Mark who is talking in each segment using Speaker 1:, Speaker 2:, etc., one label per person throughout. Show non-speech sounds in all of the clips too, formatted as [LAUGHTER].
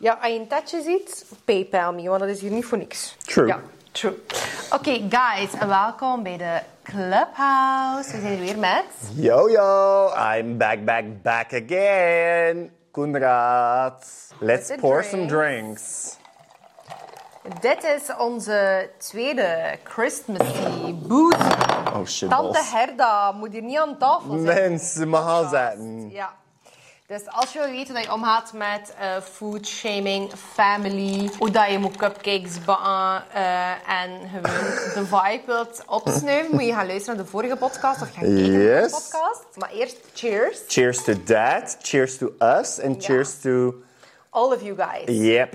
Speaker 1: Ja, als je een tatje ziet, PayPal me, want dat is hier niet voor niks.
Speaker 2: True.
Speaker 1: Ja, true. Oké, guys, en welkom bij de Clubhouse. We zijn hier weer met.
Speaker 2: Yo, yo, I'm back, back, back again. Koenraad. Let's
Speaker 1: Met de
Speaker 2: pour some drinks.
Speaker 1: Dit is onze tweede Christmas Tea Booth.
Speaker 2: Oh shit,
Speaker 1: Tante
Speaker 2: balls.
Speaker 1: Herda moet hier niet aan tafel zijn.
Speaker 2: Mensen, me gaan zetten.
Speaker 1: Ja. Dus als je wil weten dat je omgaat met eh, food shaming, family, hoe dat je moet cupcakes baan eh, en gewoon de vibe wilt opsnuiven, moet je gaan luisteren naar de vorige podcast of gaan kijken naar de
Speaker 2: Yes.
Speaker 1: podcast. Maar eerst cheers,
Speaker 2: Cheers to that. Cheers to us. En cheers to...
Speaker 1: all of you guys.
Speaker 2: Yep.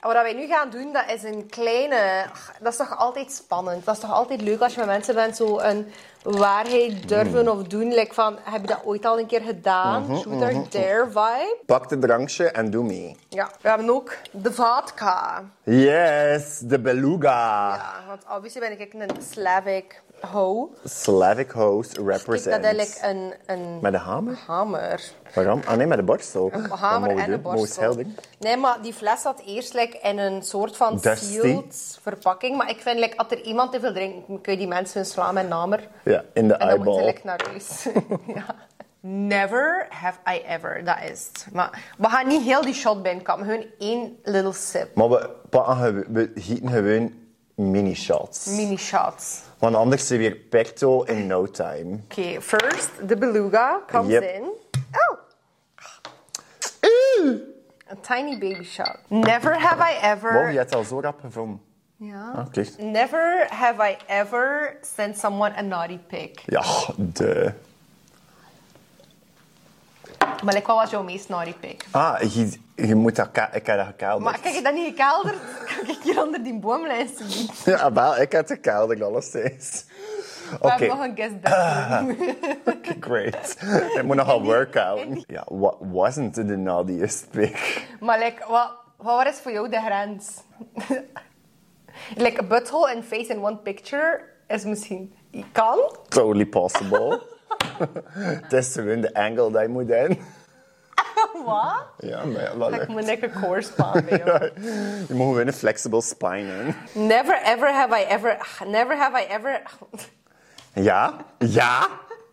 Speaker 1: En wat wij nu gaan doen, dat is een kleine... ach, Dat is toch altijd spannend? Dat is toch altijd leuk als je met mensen bent, zo een waarheid durven of doen. Like van, heb je dat ooit al een keer gedaan? Shoot or dare vibe.
Speaker 2: Pak de drankje en doe mee.
Speaker 1: Ja, we hebben ook de vodka.
Speaker 2: Yes, de beluga.
Speaker 1: Ja, want obviously ben ik een Slavic hoe.
Speaker 2: Slavic host
Speaker 1: Ik
Speaker 2: represent.
Speaker 1: dat eigenlijk een, een
Speaker 2: Met de hamer?
Speaker 1: hamer.
Speaker 2: Waarom? Ah nee, met de borstel.
Speaker 1: Een hamer en een borstel. Nee, maar die fles zat eerst like, in een soort van
Speaker 2: Dusty.
Speaker 1: sealed verpakking. Maar ik vind, like, als er iemand te veel drinkt, kun je die mensen hun slaan met een hamer.
Speaker 2: Ja, in de
Speaker 1: En dan moet je
Speaker 2: eyeball.
Speaker 1: like, naar huis. [LAUGHS] ja. Never have I ever, dat is het. Maar we gaan niet heel die shot binnenkomen. Gewoon één little sip.
Speaker 2: Maar we, pakken gewo- we gieten gewoon mini-shots.
Speaker 1: Mini shots.
Speaker 2: Want anders is weer pecto in no time.
Speaker 1: Oké, first, de beluga comes
Speaker 2: Yep.
Speaker 1: in. Oh! A tiny baby shot. Never have I ever.
Speaker 2: Wow, je hebt al zo rap gevonden.
Speaker 1: Ja.
Speaker 2: Oké.
Speaker 1: Never have I ever sent someone a naughty pic.
Speaker 2: Ja, de.
Speaker 1: Maar ik wat was jouw meest naughty pic?
Speaker 2: Ah, je, je moet dat... ka- Ik heb dat gekelderd.
Speaker 1: Maar kijk je dat niet gekelderd? Kan ik hier onder die boomlijst zien?
Speaker 2: Ja, wel, ik heb het gekelderd, alles steeds. Oké.
Speaker 1: We hebben nog een guest bedroom.
Speaker 2: Great. Ik moet nogal workout. Ja, what wasn't the naughtiest pic?
Speaker 1: maar like, wat, wat waar is voor jou de grens? like, butthole and face in one picture is misschien... [LAUGHS] Kan?
Speaker 2: Totally possible. [LAUGHS] Het is gewoon de angle dat je moet in.
Speaker 1: Wat?
Speaker 2: Ja, maar ja, dat
Speaker 1: Ik
Speaker 2: lukt.
Speaker 1: moet lekker core spannen, joh.
Speaker 2: Je moet gewoon een flexible spine in.
Speaker 1: [LAUGHS] Never ever have I ever. [SIGHS] ach, Never have I ever. [LAUGHS] ach,
Speaker 2: Ja? Ja?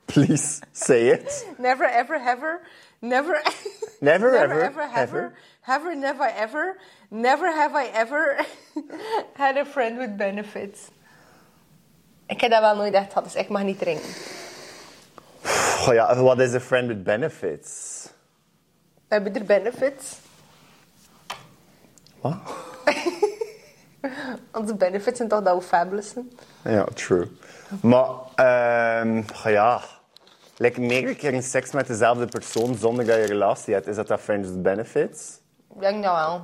Speaker 2: Please, say it.
Speaker 1: Never ever ever. Never. [LAUGHS]
Speaker 2: Never, ever,
Speaker 1: ever ever. Ever never I ever. Never have I ever [LAUGHS] had a friend with benefits. Ik heb dat wel nooit echt gehad, dus ik mag niet drinken.
Speaker 2: Goh, ja, wat is a friend with benefits?
Speaker 1: We hebben er benefits.
Speaker 2: Wat?
Speaker 1: [LAUGHS] Onze benefits zijn toch dat we fabulous zijn.
Speaker 2: Ja, true. Maar, ehm goh, ja... Like meerdere keren seks met dezelfde persoon zonder dat je een relatie hebt. Is dat dat friends with benefits?
Speaker 1: Ik denk dat wel.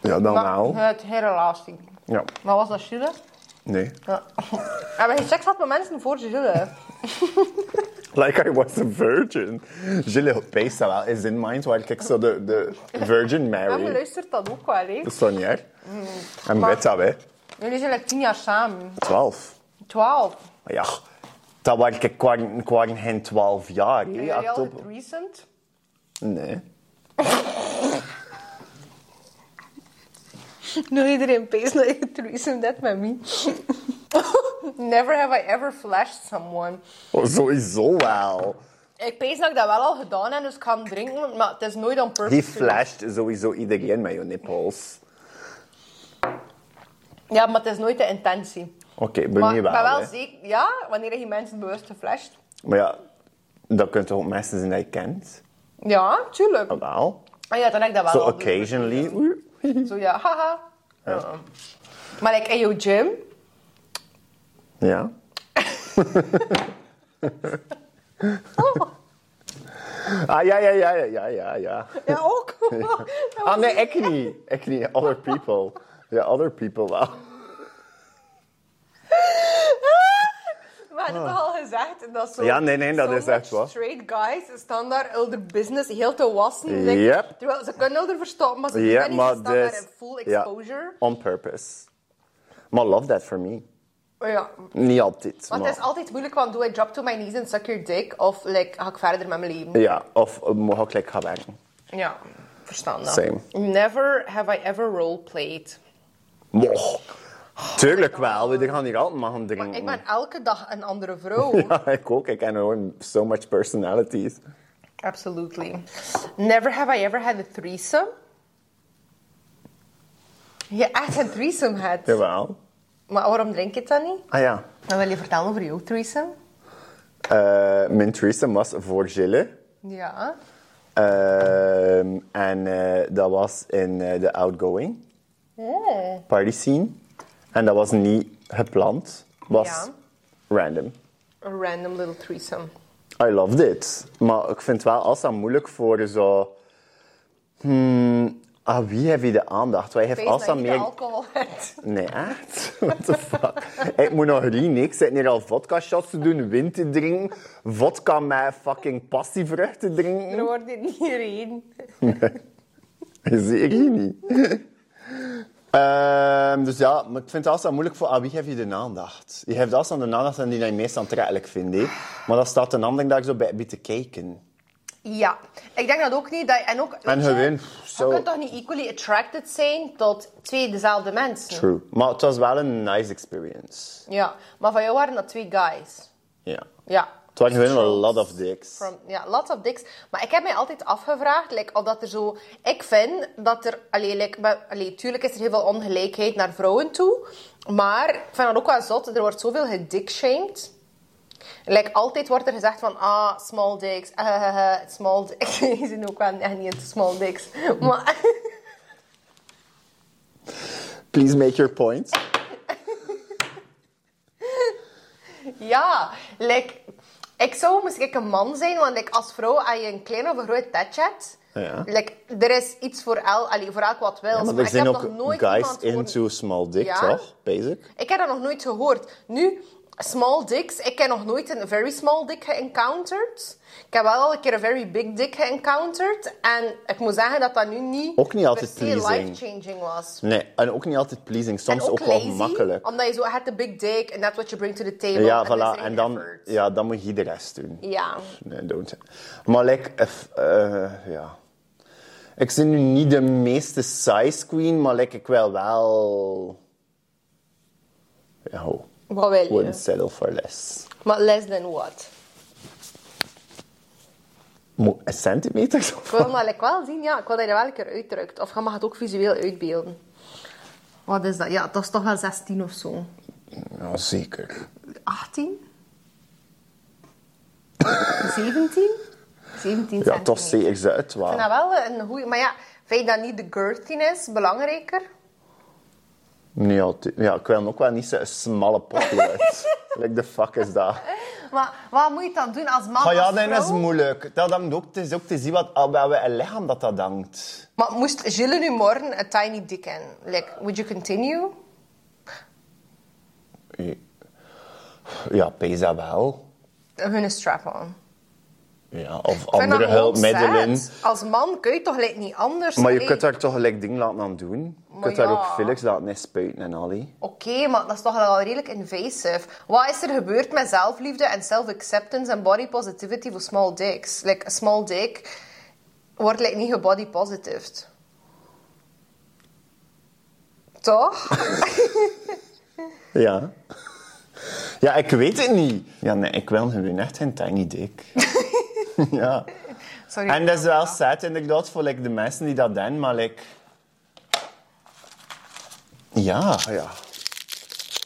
Speaker 2: Ja, dan
Speaker 1: Maar eh,
Speaker 2: wel.
Speaker 1: Het hele laatste.
Speaker 2: Ja,
Speaker 1: Maar was dat Jules?
Speaker 2: nee.
Speaker 1: Ja. [LAUGHS] Ah, Hebben je seks gehad met mensen voor Jules? [LAUGHS]
Speaker 2: Like I was a virgin. Gilles peest dat wel eens in mind, waar ik zo de, de virgin
Speaker 1: Ja, maar Mm.
Speaker 2: Mary.
Speaker 1: luistert dat ook wel, hè?
Speaker 2: Dat is toch niet erg? En weet dat, hè?
Speaker 1: Jullie zijn like tien jaar samen.
Speaker 2: Twaalf.
Speaker 1: Twaalf.
Speaker 2: Maar Ja, dat was ik kwart, kwart geen twaalf jaar. hè,
Speaker 1: Jullie al
Speaker 2: oktober.
Speaker 1: recent?
Speaker 2: Nee.
Speaker 1: Nog iedereen pees dat je het recent net met me. Never have I ever flashed someone.
Speaker 2: Oh, sowieso wel.
Speaker 1: Ik pees dat ik dat wel al gedaan heb, dus ik ga hem drinken, maar het is nooit on purpose.
Speaker 2: Die flasht sowieso iedereen met je nippels.
Speaker 1: Ja, maar het is nooit de intentie.
Speaker 2: Oké, ben
Speaker 1: Maar
Speaker 2: je
Speaker 1: ik
Speaker 2: wel,
Speaker 1: ben wel
Speaker 2: hè.
Speaker 1: zeker, ja, wanneer je mensen bewust geflasht.
Speaker 2: Maar ja, dat kunt toch ook mensen zijn die je kent?
Speaker 1: Ja, tuurlijk.
Speaker 2: Ah, Wel.
Speaker 1: Ah ja, dan heb ik dat wel
Speaker 2: Zo
Speaker 1: al
Speaker 2: occasionally. oei.
Speaker 1: doen. Zo ja, haha. Uh-uh. Maar like, in jouw
Speaker 2: [LAUGHS]
Speaker 1: gym,
Speaker 2: Ja.
Speaker 1: Oh,
Speaker 2: ah, ja, ja, ja, ja, ja, ja, [LAUGHS] ja.
Speaker 1: ja ook.
Speaker 2: Ah, nee, ik niet. Ik niet. Other people. Ja, other people wel.
Speaker 1: We hadden het al gezegd. Dat zo,
Speaker 2: Ah. Ja, nee, nee, dat
Speaker 1: so
Speaker 2: is
Speaker 1: much
Speaker 2: echt waar.
Speaker 1: Straight guys staan daar hun business heel te wassen. Like,
Speaker 2: Yep.
Speaker 1: Terwijl ze kunnen er verstoppen, maar ze
Speaker 2: Ja,
Speaker 1: kunnen
Speaker 2: maar
Speaker 1: niet staan daar
Speaker 2: dus-
Speaker 1: in full
Speaker 2: ja.
Speaker 1: exposure.
Speaker 2: On purpose. Maar love that for me.
Speaker 1: Ja.
Speaker 2: Niet altijd.
Speaker 1: Want
Speaker 2: maar-
Speaker 1: het is altijd moeilijk, want doe I drop to my knees and suck your dick? Of like, ga ik verder met mijn leven?
Speaker 2: Ja, of eh, mag ik like, gaan werken.
Speaker 1: Ja. Verstandig.
Speaker 2: Same.
Speaker 1: Never have I ever roleplayed.
Speaker 2: Moch. Tuurlijk wel, we gaan hier altijd maar gaan drinken.
Speaker 1: Ik ben elke dag een andere vrouw.
Speaker 2: [LAUGHS] Ja, ik ook. Ik ken gewoon so much personalities.
Speaker 1: Absolutely. Never have I ever had a threesome. Je echt een threesome had.
Speaker 2: Jawel.
Speaker 1: Maar waarom drink je het dan niet?
Speaker 2: Ah ja.
Speaker 1: Dan wil je vertellen over jouw threesome?
Speaker 2: Eh, mijn threesome was voor Gilles.
Speaker 1: Ja.
Speaker 2: Ehm, en eh, dat was in eh, de outgoing party scene. En dat was niet gepland. Was
Speaker 1: Ja.
Speaker 2: random.
Speaker 1: A random little threesome.
Speaker 2: I loved it. Maar ik vind wel als dat moeilijk voor zo... Hmm, aan wie heb je de aandacht? Wij hebben als
Speaker 1: Feest
Speaker 2: dat
Speaker 1: dat je de
Speaker 2: meer...
Speaker 1: alcohol hebt.
Speaker 2: Nee, echt? [LAUGHS] What the fuck? ik moet nog rien. Ik zit hier al vodka shots te doen, win te drinken, vodka met fucking passievruchten drinken.
Speaker 1: Er wordt hier niet hierheen.
Speaker 2: Zeker niet. Ehm, dus ja, maar ik vind het altijd moeilijk voor aan wie geef je de aandacht? Je geeft altijd aan de aandacht en die dat je meest aantrekkelijk vindt. hè. Maar dat staat een ander dag zo bij, bij te kijken.
Speaker 1: Ja. Ik denk dat ook niet. Dat, en ook,
Speaker 2: En
Speaker 1: weet je,
Speaker 2: gewoon,
Speaker 1: Je
Speaker 2: zo.
Speaker 1: kunt toch niet equally attracted zijn tot twee dezelfde mensen?
Speaker 2: True. Maar het was wel een nice experience.
Speaker 1: Ja. Maar van jou waren dat twee guys.
Speaker 2: Ja.
Speaker 1: Ja.
Speaker 2: Het waren gewoon een lot of dicks.
Speaker 1: From, ja, lots of dicks. Maar ik heb mij altijd afgevraagd like, of dat er zo... Ik vind dat er... Allee, like, maar- allee, tuurlijk is er heel veel ongelijkheid naar vrouwen toe. Maar ik vind dat ook wel zot. Er wordt zoveel gedickshamed. Like, altijd wordt er gezegd van... Ah, small dicks. [LAUGHS] eh, eh, eh, small [LAUGHS] dicks. Die zijn ook wel echt niet into small dicks. [LAUGHS] Maar...
Speaker 2: Please make your point.
Speaker 1: Ja, like, ik zou misschien een man zijn, want like, als vrouw als je een klein of een groot tetje hebt,
Speaker 2: Ja.
Speaker 1: like, er is iets voor, el, allee, voor elk wat wil.
Speaker 2: Ja, maar
Speaker 1: Maar
Speaker 2: er
Speaker 1: ik
Speaker 2: zijn
Speaker 1: heb
Speaker 2: ook
Speaker 1: nog nooit
Speaker 2: guys
Speaker 1: iemand gehoord-
Speaker 2: into small dick,
Speaker 1: Ja?
Speaker 2: toch? Basic.
Speaker 1: Ik heb dat nog nooit gehoord. Nu, small dicks, ik heb nog nooit een very small dick geëncounterd. Ik heb wel al een keer een very big dick geëncounterd. En ik moet zeggen dat dat nu niet,
Speaker 2: Ook niet altijd
Speaker 1: per se
Speaker 2: pleasing.
Speaker 1: life-changing was.
Speaker 2: Nee, en ook niet altijd pleasing.
Speaker 1: En
Speaker 2: Soms ook, wel
Speaker 1: lazy,
Speaker 2: makkelijk.
Speaker 1: Omdat je zo, had de big dick, and that's what you bring to the table.
Speaker 2: Ja,
Speaker 1: and is er
Speaker 2: voilà.
Speaker 1: geen
Speaker 2: En dan,
Speaker 1: effort.
Speaker 2: ja, dan moet je de rest doen.
Speaker 1: Ja.
Speaker 2: Nee, don't. Maar like, if, eh, ja. Ik ben nu niet de meeste size queen, maar like, ik wil wel... Ja, ho.
Speaker 1: Wat wil je?
Speaker 2: Wouldn't settle for less.
Speaker 1: Maar less than what?
Speaker 2: Mo- een centimeter? zo?
Speaker 1: Ik wil maar like wel zien, ja, ik wil dat je dat wel een keer uitdrukt. Of je mag het ook visueel uitbeelden. Wat is dat? Ja, dat is toch wel 16 of zo.
Speaker 2: Ja, zeker. [LAUGHS]
Speaker 1: 18? 17? 17
Speaker 2: Ja,
Speaker 1: centimeter.
Speaker 2: toch zeker ze uit
Speaker 1: Ik
Speaker 2: wel.
Speaker 1: vind dat wel een goeie... Maar ja, vind je dat niet de girthiness belangrijker?
Speaker 2: Nee, altijd. Ja, ik wil ook wel niet zo'n smalle
Speaker 1: [LAUGHS]
Speaker 2: pot uit. like, the fuck is dat?
Speaker 1: Maar wat moet je dan doen als man,
Speaker 2: Ah ja,
Speaker 1: als
Speaker 2: dat is
Speaker 1: vrouw?
Speaker 2: moeilijk. Dat hangt ook, het is ook te zien wat, aan wat een lichaam dat dat hangt.
Speaker 1: Maar moest Gilles nu morgen een tiny dick in? Like, would you continue?
Speaker 2: Ja, pees dat wel.
Speaker 1: Hun strap-on.
Speaker 2: Ja, of
Speaker 1: Ik vind dat
Speaker 2: andere
Speaker 1: gewoon
Speaker 2: hulpmiddelen.
Speaker 1: sad. Als man kun je toch like, niet anders?
Speaker 2: Maar je
Speaker 1: Allee.
Speaker 2: kunt daar toch gelijk ding laten aan doen. Je
Speaker 1: Maar
Speaker 2: kunt daar
Speaker 1: ja.
Speaker 2: ook Felix laten in spuiten en al die.
Speaker 1: Oké, maar dat is toch wel redelijk invasive. Wat is er gebeurd met zelfliefde en self-acceptance en body positivity voor small dicks? Like, a small dick wordt like, niet gebody positived.
Speaker 2: [LAUGHS]
Speaker 1: Toch?
Speaker 2: Ja. Ja, ik weet het niet. Ja, nee, ik wil gewoon echt geen tiny dick. ja.
Speaker 1: Sorry.
Speaker 2: En dat is wel sad inderdaad voor like, de mensen die dat doen, maar like... Ja, Ah, ja.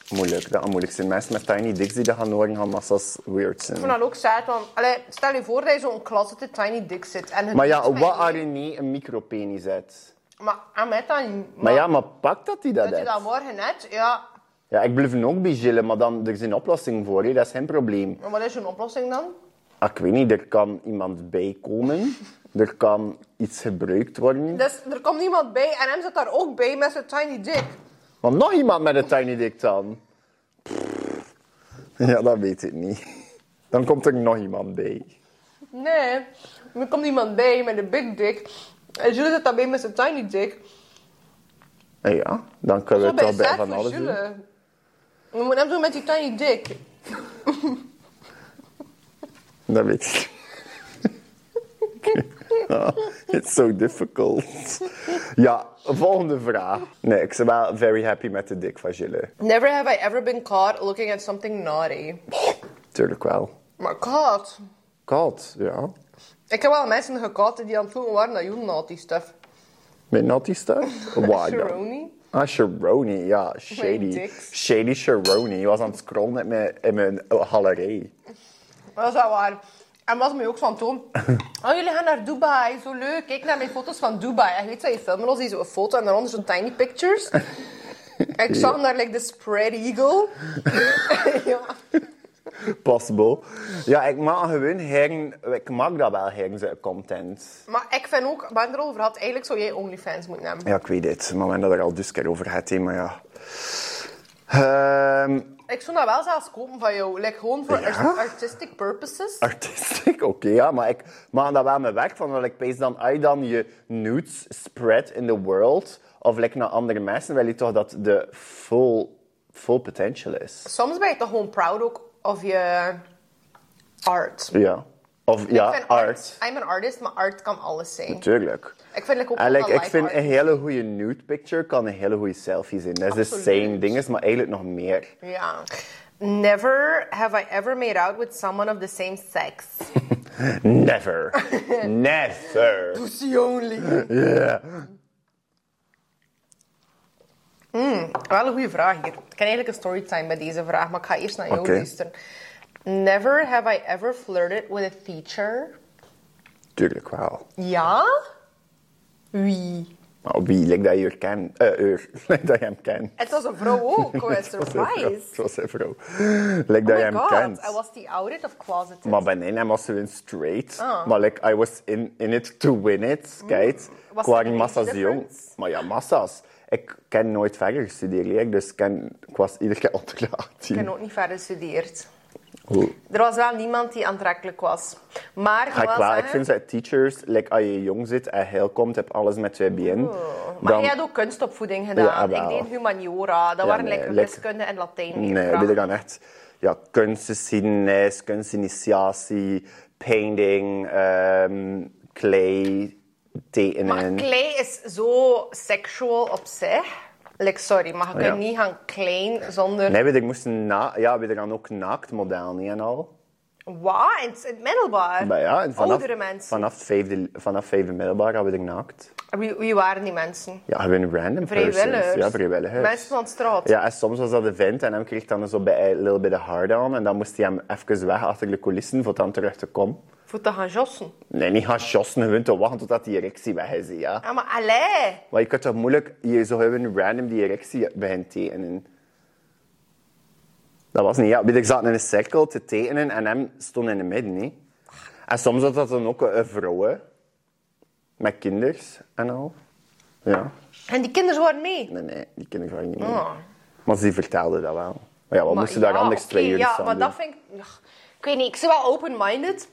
Speaker 2: Moeilijk, dat gaat moeilijk zijn. Mensen met tiny dicks die dat gaan horen, gaan massas weird zijn.
Speaker 1: Ik vind dat ook sad, want allee, stel je voor dat je zo'n closeted tiny dick zit. En het
Speaker 2: Maar ja,
Speaker 1: doet mij
Speaker 2: wat
Speaker 1: niet.
Speaker 2: als je niet een micropenis hebt?
Speaker 1: Maar aan mij dan niet.
Speaker 2: Maar ja, maar pak dat hij dat
Speaker 1: dat je
Speaker 2: heeft.
Speaker 1: dat morgen net, ja.
Speaker 2: Ja, ik blijf ook bij Gilles, maar dan, er is een oplossing voor je, dat is geen probleem.
Speaker 1: Maar wat is je oplossing dan?
Speaker 2: Ah, ik weet niet, er kan iemand bij komen, er kan iets gebruikt worden.
Speaker 1: Dus er komt niemand bij en hem zit daar ook bij met zijn tiny dick.
Speaker 2: Want nog iemand met een tiny dick dan? Pff, Ja, dat weet ik niet. Dan komt er nog iemand bij.
Speaker 1: Nee, er komt iemand bij met een big dick. En Jules zit daarbij met zijn tiny dick.
Speaker 2: En Eh, ja, dan kunnen
Speaker 1: Zo
Speaker 2: we
Speaker 1: bij
Speaker 2: toch bij
Speaker 1: staat
Speaker 2: van
Speaker 1: voor
Speaker 2: alles doen.
Speaker 1: Jules. We moeten hem doen met die tiny dick.
Speaker 2: [LAUGHS] Dat weet ik. Oké. Ah, It's so difficult. ja, volgende vraag. Nee, ik ben wel very happy met de dik van Gilles.
Speaker 1: Never have I ever been caught looking at something naughty.
Speaker 2: Tuurlijk wel.
Speaker 1: Maar caught?
Speaker 2: Koud, ja.
Speaker 1: Ik heb wel mensen gekauwd die aan het voelen waren dat you naughty stuff.
Speaker 2: Met naughty
Speaker 1: [LAUGHS]
Speaker 2: stuff? Why not?
Speaker 1: Sharoni?
Speaker 2: Ah, Sharoni, ja. Shady.
Speaker 1: dicks.
Speaker 2: Shady Sharoni. Je was aan het scrollen in mijn, in mijn galerij.
Speaker 1: Dat is wel waar. En was mij ook van
Speaker 2: [LAUGHS]
Speaker 1: toon. Oh, jullie gaan naar Dubai, zo leuk. Kijk naar mijn foto's van Dubai. En je weet dat je filmen ons die zo'n foto en daaronder zo'n tiny
Speaker 2: [LAUGHS]
Speaker 1: pictures. Ik zag daar like de spread eagle. [LAUGHS] ja.
Speaker 2: Possible. Ja, ik maak gewoon heren, ik maak dat wel heren zijn content.
Speaker 1: Maar ik vind ook, we hebben het erover gehad, eigenlijk zou jij OnlyFans moeten hebben.
Speaker 2: Ja, ik weet het. Maar we hebben dat er al dus keer over gehad, hè, maar ja. Ehm [LAUGHS]
Speaker 1: Ik zou dat wel zelfs kopen van jou. Like, gewoon voor
Speaker 2: Ja?
Speaker 1: art- artistic purposes.
Speaker 2: artistiek, oké, ja. Maar ik maak dat wel mijn werk van. Want ik pees dan, als je dan je nudes spread in the world, of lekker naar andere mensen, wil je toch dat de full, full potential is.
Speaker 1: Soms ben je toch gewoon proud ook of je art.
Speaker 2: Ja. Of ja,
Speaker 1: Ik vind
Speaker 2: art.
Speaker 1: I'm an artist, maar art kan alles zijn.
Speaker 2: Tuurlijk.
Speaker 1: Ik vind like, ook
Speaker 2: En
Speaker 1: gewoon
Speaker 2: like,
Speaker 1: dat
Speaker 2: ik
Speaker 1: life
Speaker 2: vind
Speaker 1: art.
Speaker 2: een hele goede nude picture kan een hele goede selfie zijn. Dat is de
Speaker 1: Absoluut.
Speaker 2: same ding, is, maar eigenlijk nog meer.
Speaker 1: Ja. Never have I ever made out with someone of the same sex.
Speaker 2: Never.
Speaker 1: [LAUGHS]
Speaker 2: Never.
Speaker 1: Pussy only.
Speaker 2: Yeah.
Speaker 1: Wel een goede vraag hier. Ik kan eigenlijk een storytime bij deze vraag, maar ik ga eerst naar jou
Speaker 2: Oké.
Speaker 1: luisteren. Never have I ever flirted with a teacher.
Speaker 2: Tuurlijk wel.
Speaker 1: Ja? Wie?
Speaker 2: Maar wie, like dat je haar ken, eh, [LAUGHS] haar, like dat je hem
Speaker 1: [LAUGHS]
Speaker 2: kent.
Speaker 1: Het was een vrouw
Speaker 2: [LAUGHS]
Speaker 1: ook. Ik was
Speaker 2: Het was zijn vrouw.
Speaker 1: surprised.
Speaker 2: Het was zijn vrouw. Like dat je hem kent.
Speaker 1: Oh I was the outed of closeted.
Speaker 2: Maar bij Nina was ze in straight.
Speaker 1: Ah. Mm.
Speaker 2: Maar like, I was in, in it to win it. Kijk,
Speaker 1: Was
Speaker 2: ik
Speaker 1: er
Speaker 2: was
Speaker 1: een
Speaker 2: massa's
Speaker 1: age
Speaker 2: jong.
Speaker 1: difference?
Speaker 2: Maar ja, massa's. Ik ken nooit verder gestudeerd, like, dus ik ken, ik was iedere keer [LAUGHS] onder de 18.
Speaker 1: Ik heb ook niet verder gestudeerd.
Speaker 2: Oeh.
Speaker 1: Er was wel niemand die aantrekkelijk was. Maar ik
Speaker 2: Ga ik
Speaker 1: wil
Speaker 2: wel, ik
Speaker 1: zeggen-
Speaker 2: vind dat teachers, like, als je jong zit en heel komt, heb alles met je bien.
Speaker 1: Maar
Speaker 2: Dan,
Speaker 1: jij had ook kunstopvoeding gedaan.
Speaker 2: Ja, wel.
Speaker 1: ik deed humaniora. Dat waren
Speaker 2: nee,
Speaker 1: lekker
Speaker 2: lekker.
Speaker 1: wiskunde en Latijn.
Speaker 2: nee,
Speaker 1: leerkrachten.
Speaker 2: we gaan echt ja, kunstgeschiedenis, kunstinitiatie, painting, ehm clay,
Speaker 1: Maar
Speaker 2: tekenen.
Speaker 1: klei is zo seksual op zich. Like, sorry, maar je kunt
Speaker 2: Ja.
Speaker 1: niet gaan klein zonder...
Speaker 2: Nee, we ik moest na, ja, we gaan ook naaktmodel niet en al.
Speaker 1: Wat? In het- in het middelbaar?
Speaker 2: Maar ja, en vanaf,
Speaker 1: Oudere mensen.
Speaker 2: Vanaf vijfde, vanaf vijfde middelbaar hadden we er naakt.
Speaker 1: Wie, wie waren die mensen?
Speaker 2: Ja, gewoon random
Speaker 1: Vrijwilligers.
Speaker 2: persons. Ja, vrijwilligers.
Speaker 1: Mensen van de straat.
Speaker 2: Ja, en soms was dat de vent en hem kreeg dan zo bij een little bit of hard aan. En dan moest hij hem even weg achter de coulissen voor dan terug te komen.
Speaker 1: Voor te gaan jossen.
Speaker 2: Nee, niet gaan jossen, gewoon te wachten totdat die erectie weg is, ja.
Speaker 1: Ah, maar allee!
Speaker 2: Maar je kunt toch moeilijk, je zo gewoon random die erectie begint tekenen. Dat was niet, ja. weet Ik zat in een cirkel te tekenen en hem stond in de midden, niet? En soms had dat dan ook een, een vrouw, hè. Met kinders en al. Ja.
Speaker 1: En die kinderen waren mee.
Speaker 2: Nee, nee, die kinderen waren niet mee.
Speaker 1: Ah.
Speaker 2: Maar ze vertelde dat wel. Maar ja, we
Speaker 1: Maar
Speaker 2: moesten
Speaker 1: ja,
Speaker 2: daar anders
Speaker 1: oké,
Speaker 2: twee uur
Speaker 1: Ja,
Speaker 2: staan
Speaker 1: maar
Speaker 2: doen.
Speaker 1: dat vind ik... ach, Ik weet niet, ik ben wel open-minded.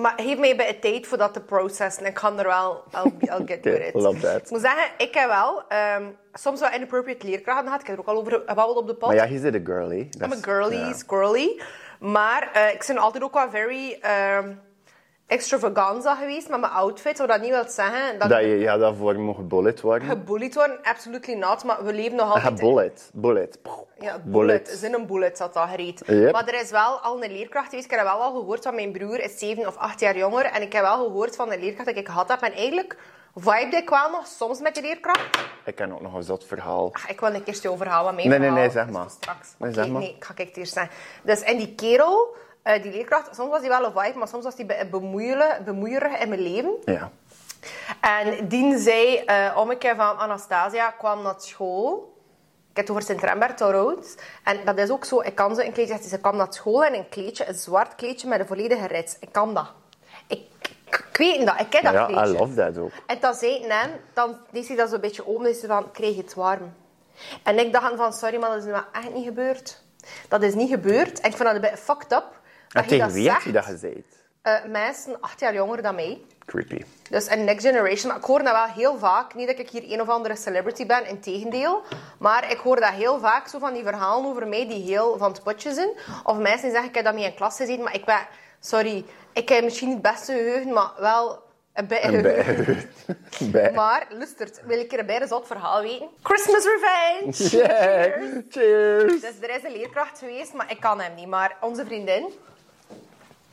Speaker 1: Maar geef mij bij het tijd voor dat te processen. Ik kan er wel... I'll, be- I'll get
Speaker 2: [LAUGHS] Oké,
Speaker 1: with it.
Speaker 2: love that.
Speaker 1: Ik moet zeggen, ik heb wel ehm, soms wel inappropriate leerkrachten gehad. Ik heb er ook al over gebabbeld op de pod.
Speaker 2: Maar ja, je zit een girly.
Speaker 1: I'm a girly, squirrely. Maar eh, ik ben altijd ook wel very ehm, extravaganza geweest met mijn outfit. Wat dat niet wil zeggen dat,
Speaker 2: Dat
Speaker 1: ik
Speaker 2: je ja, daarvoor mocht bullet worden.
Speaker 1: gebullied word. Absolutely not. Maar we leven nog altijd...
Speaker 2: Ah, bullet. Bullet.
Speaker 1: Ja, bullet.
Speaker 2: bullet.
Speaker 1: Zin een bullet zat dat gereed.
Speaker 2: Yep.
Speaker 1: Maar er is wel al een leerkracht geweest. Ik heb dat wel al gehoord van mijn broer. is 7 of 8 jaar jonger. En ik heb wel gehoord van de leerkracht dat ik gehad heb. En eigenlijk vibe ik wel nog soms met die leerkracht.
Speaker 2: Ik ken ook nog een zot verhaal.
Speaker 1: Ach, ik wil een keer je overhaal wat mee.
Speaker 2: Nee, nee, nee, zeg maar.
Speaker 1: Dus Straks.
Speaker 2: Nee,
Speaker 1: Oké,
Speaker 2: zeg maar.
Speaker 1: nee, ik ga kijken eerst zijn. Dus, en die kerel, eh, die leerkracht, soms was hij wel een vibe, maar soms was hij be- bemoeiele- bemoeierig in mijn leven.
Speaker 2: Ja.
Speaker 1: En dien zei, eh om een keer van Anastasia kwam naar school. Ik heb het over Sint-Remberto Road. En dat is ook zo, ik kan zo een kleedje... Ze kwam naar school in een kleedje, een zwart kleedje met een volledige rits. Ik kan dat. Ik, ik, ik weet dat, ik ken dat
Speaker 2: Ja, I
Speaker 1: kleedje.
Speaker 2: love that ook.
Speaker 1: En dan zei ik hem, dan deed hij dat zo'n beetje open. Dus van, kreeg je het warm? En ik dacht van, sorry, maar dat is nu wel echt niet gebeurd. Dat is niet gebeurd. En ik vind dat een beetje fucked up. Dat
Speaker 2: En
Speaker 1: je
Speaker 2: tegen
Speaker 1: dat
Speaker 2: wie had je
Speaker 1: zegt.
Speaker 2: dat gezegd?
Speaker 1: Eh, mensen acht jaar jonger dan mij. [LAUGHS]
Speaker 2: Creepy.
Speaker 1: Dus een next generation. Maar ik hoor dat wel heel vaak. Niet dat ik hier een of andere celebrity ben, in tegendeel. Maar ik hoor dat heel vaak, zo van die verhalen over mij die heel van het potje zijn. Of mensen die zeggen, ik heb dat mee in klas gezien, maar ik ben... Sorry, ik heb misschien niet het beste geheugen, maar wel Een bij-
Speaker 2: Een bij.
Speaker 1: [LAUGHS]
Speaker 2: bij.
Speaker 1: Maar, lustert, wil ik er een bijna zot verhaal weten? Christmas Revenge!
Speaker 2: Yeah. Cheers.
Speaker 1: Dus er is een leerkracht geweest, maar ik kan hem niet. Maar onze vriendin,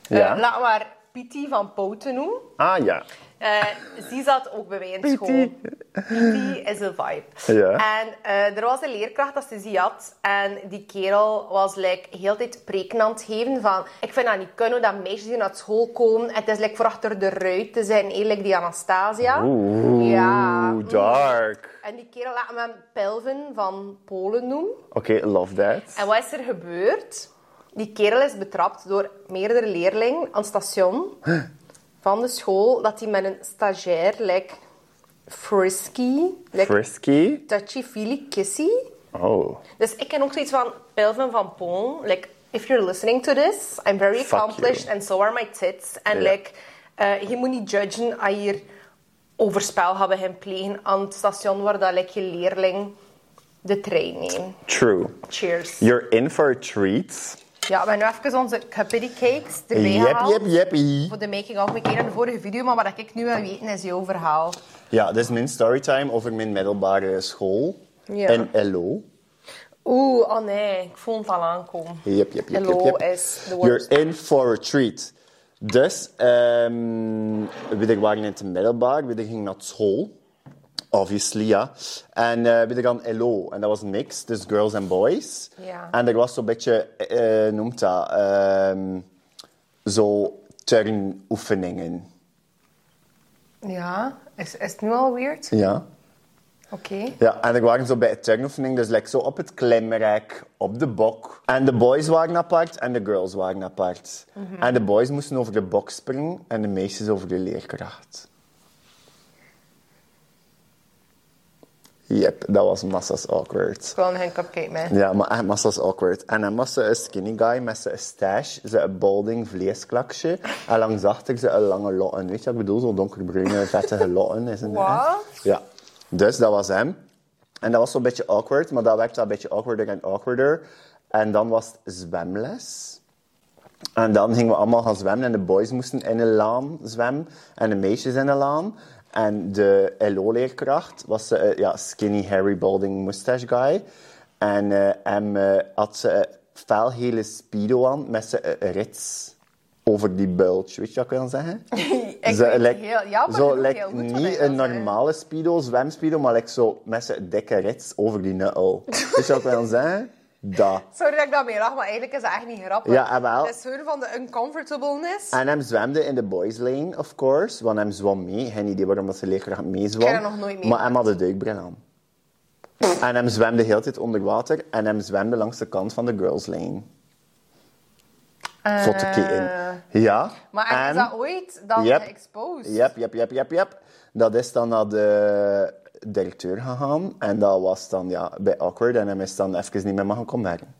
Speaker 2: Ja.
Speaker 1: eh, laten we haar Piti van Pouten noemen.
Speaker 2: Ah ja.
Speaker 1: Eh, die zat ook bij mij in school. Piti is een vibe.
Speaker 2: Ja.
Speaker 1: En eh, er was een leerkracht dat ze die had. En die kerel was like, heel de tijd preken aan het geven van... Ik vind dat niet kunnen, hoe dat meisjes die naar school komen. Het is like, voor achter de ruit te zijn, eerlijk die Anastasia.
Speaker 2: Oeh,
Speaker 1: Ja.
Speaker 2: dark.
Speaker 1: En die kerel laat me hem Pelvin van Polen noemen.
Speaker 2: Oké, love that.
Speaker 1: En wat is er gebeurd? Die kerel is betrapt door meerdere leerlingen aan het station van de school dat hij met een stagiair, like frisky, like
Speaker 2: Frisky.
Speaker 1: touchy-feely kissy.
Speaker 2: Oh.
Speaker 1: Dus ik ken ook zoiets van Pelvin van Poon. Like, if you're listening to this, I'm very
Speaker 2: Fuck
Speaker 1: accomplished
Speaker 2: you.
Speaker 1: and so are my tits. And
Speaker 2: Ja.
Speaker 1: like, eh, je moet niet judgen als je hier overspel gaat beginnen plegen aan het station waar dat, like, je leerling de trein neemt.
Speaker 2: True.
Speaker 1: Cheers.
Speaker 2: You're in for a treat.
Speaker 1: Ja, we hebben nu even onze cupiddy cakes erbij
Speaker 2: Yep,
Speaker 1: gehaald.
Speaker 2: yep, yeppie.
Speaker 1: Voor de making of. We keken de vorige video, maar wat ik nu wil weten is jouw verhaal.
Speaker 2: Ja, dit is mijn storytime over mijn middelbare school.
Speaker 1: Ja.
Speaker 2: En LO.
Speaker 1: Oeh, oh nee, ik voel het al aankomen.
Speaker 2: Yep, yep, yep,
Speaker 1: Hello
Speaker 2: yep, yep.
Speaker 1: is the worst.
Speaker 2: You're in for a treat. Dus, ehm we waren in het middelbaar, we gingen naar school. Obviously, ja. En eh we gaan LO. En dat was mixed, dus girls and boys.
Speaker 1: Ja.
Speaker 2: En er was zo'n beetje, eh noemt dat, ehm zo turnoefeningen.
Speaker 1: Ja, is, is het nu al weird?
Speaker 2: Ja.
Speaker 1: Oké.
Speaker 2: Ja, en er waren zo bij de turnoefening, dus like, zo op het klimrek, op de bok. En de boys waren apart en de girls waren apart. En de boys moesten over de bok springen en de meisjes over de leerkracht. Yep, dat was massa's awkward.
Speaker 1: Ik wil nog een cupcake mee.
Speaker 2: Ja, maar echt massa's awkward. En dan was ze een skinny guy met zijn stash, zijn balding vleesklakje. En langs achter ze een lange lotten. Weet je wat ik bedoel? Zo'n donkerbruine, vettige lotten. Is een
Speaker 1: Wat?
Speaker 2: Ja. Dus dat was hem. En dat was zo'n beetje awkward, maar dat werd wel een beetje awkwarder en awkwarder. En dan was het zwemles. En dan gingen we allemaal gaan zwemmen. En de boys moesten in een laan zwemmen. En de meisjes in een laan. En de LO-leerkracht was eh, ja, skinny Harry Balding mustache guy. En eh, hem eh, had ze eh, felgele speedo aan met zijn eh, rits over die bulge. Weet je wat ik wil
Speaker 1: [LAUGHS]
Speaker 2: zeggen?
Speaker 1: Ik
Speaker 2: Zo,
Speaker 1: weet
Speaker 2: like,
Speaker 1: heel, ja, maar
Speaker 2: zo,
Speaker 1: ik weet
Speaker 2: like,
Speaker 1: heel goed wat
Speaker 2: niet
Speaker 1: hij eh,
Speaker 2: een
Speaker 1: wil zeggen.
Speaker 2: normale speedo, zwemspeedo, maar like, zo met zijn dikke rits over die
Speaker 1: [LAUGHS]
Speaker 2: nutto. Weet je wat ik wil zeggen? Dat.
Speaker 1: Sorry dat ik daarmee lach, maar eigenlijk is dat echt niet grappig.
Speaker 2: Ja, en wel.
Speaker 1: Het is gewoon van de uncomfortableness.
Speaker 2: En hem zwemde in de boys lane, of course, want hem zwom mee. Geen idee waarom dat zijn leerkracht meezwom.
Speaker 1: Ik heb dat nog nooit
Speaker 2: Maar hem had de duikbril aan. En hem zwemde heel de tijd onder water en hem zwemde langs de kant van de girls lane. Fotteke in. Ja.
Speaker 1: Eh, Maar en is dat ooit dan
Speaker 2: Yep.
Speaker 1: geëxposed?
Speaker 2: Yep, yep, yep, yep, yep. Dat is dan naar de directeur gegaan. En dat was dan ja, bij Awkward. En hem is dan even niet meer mogen komen werken.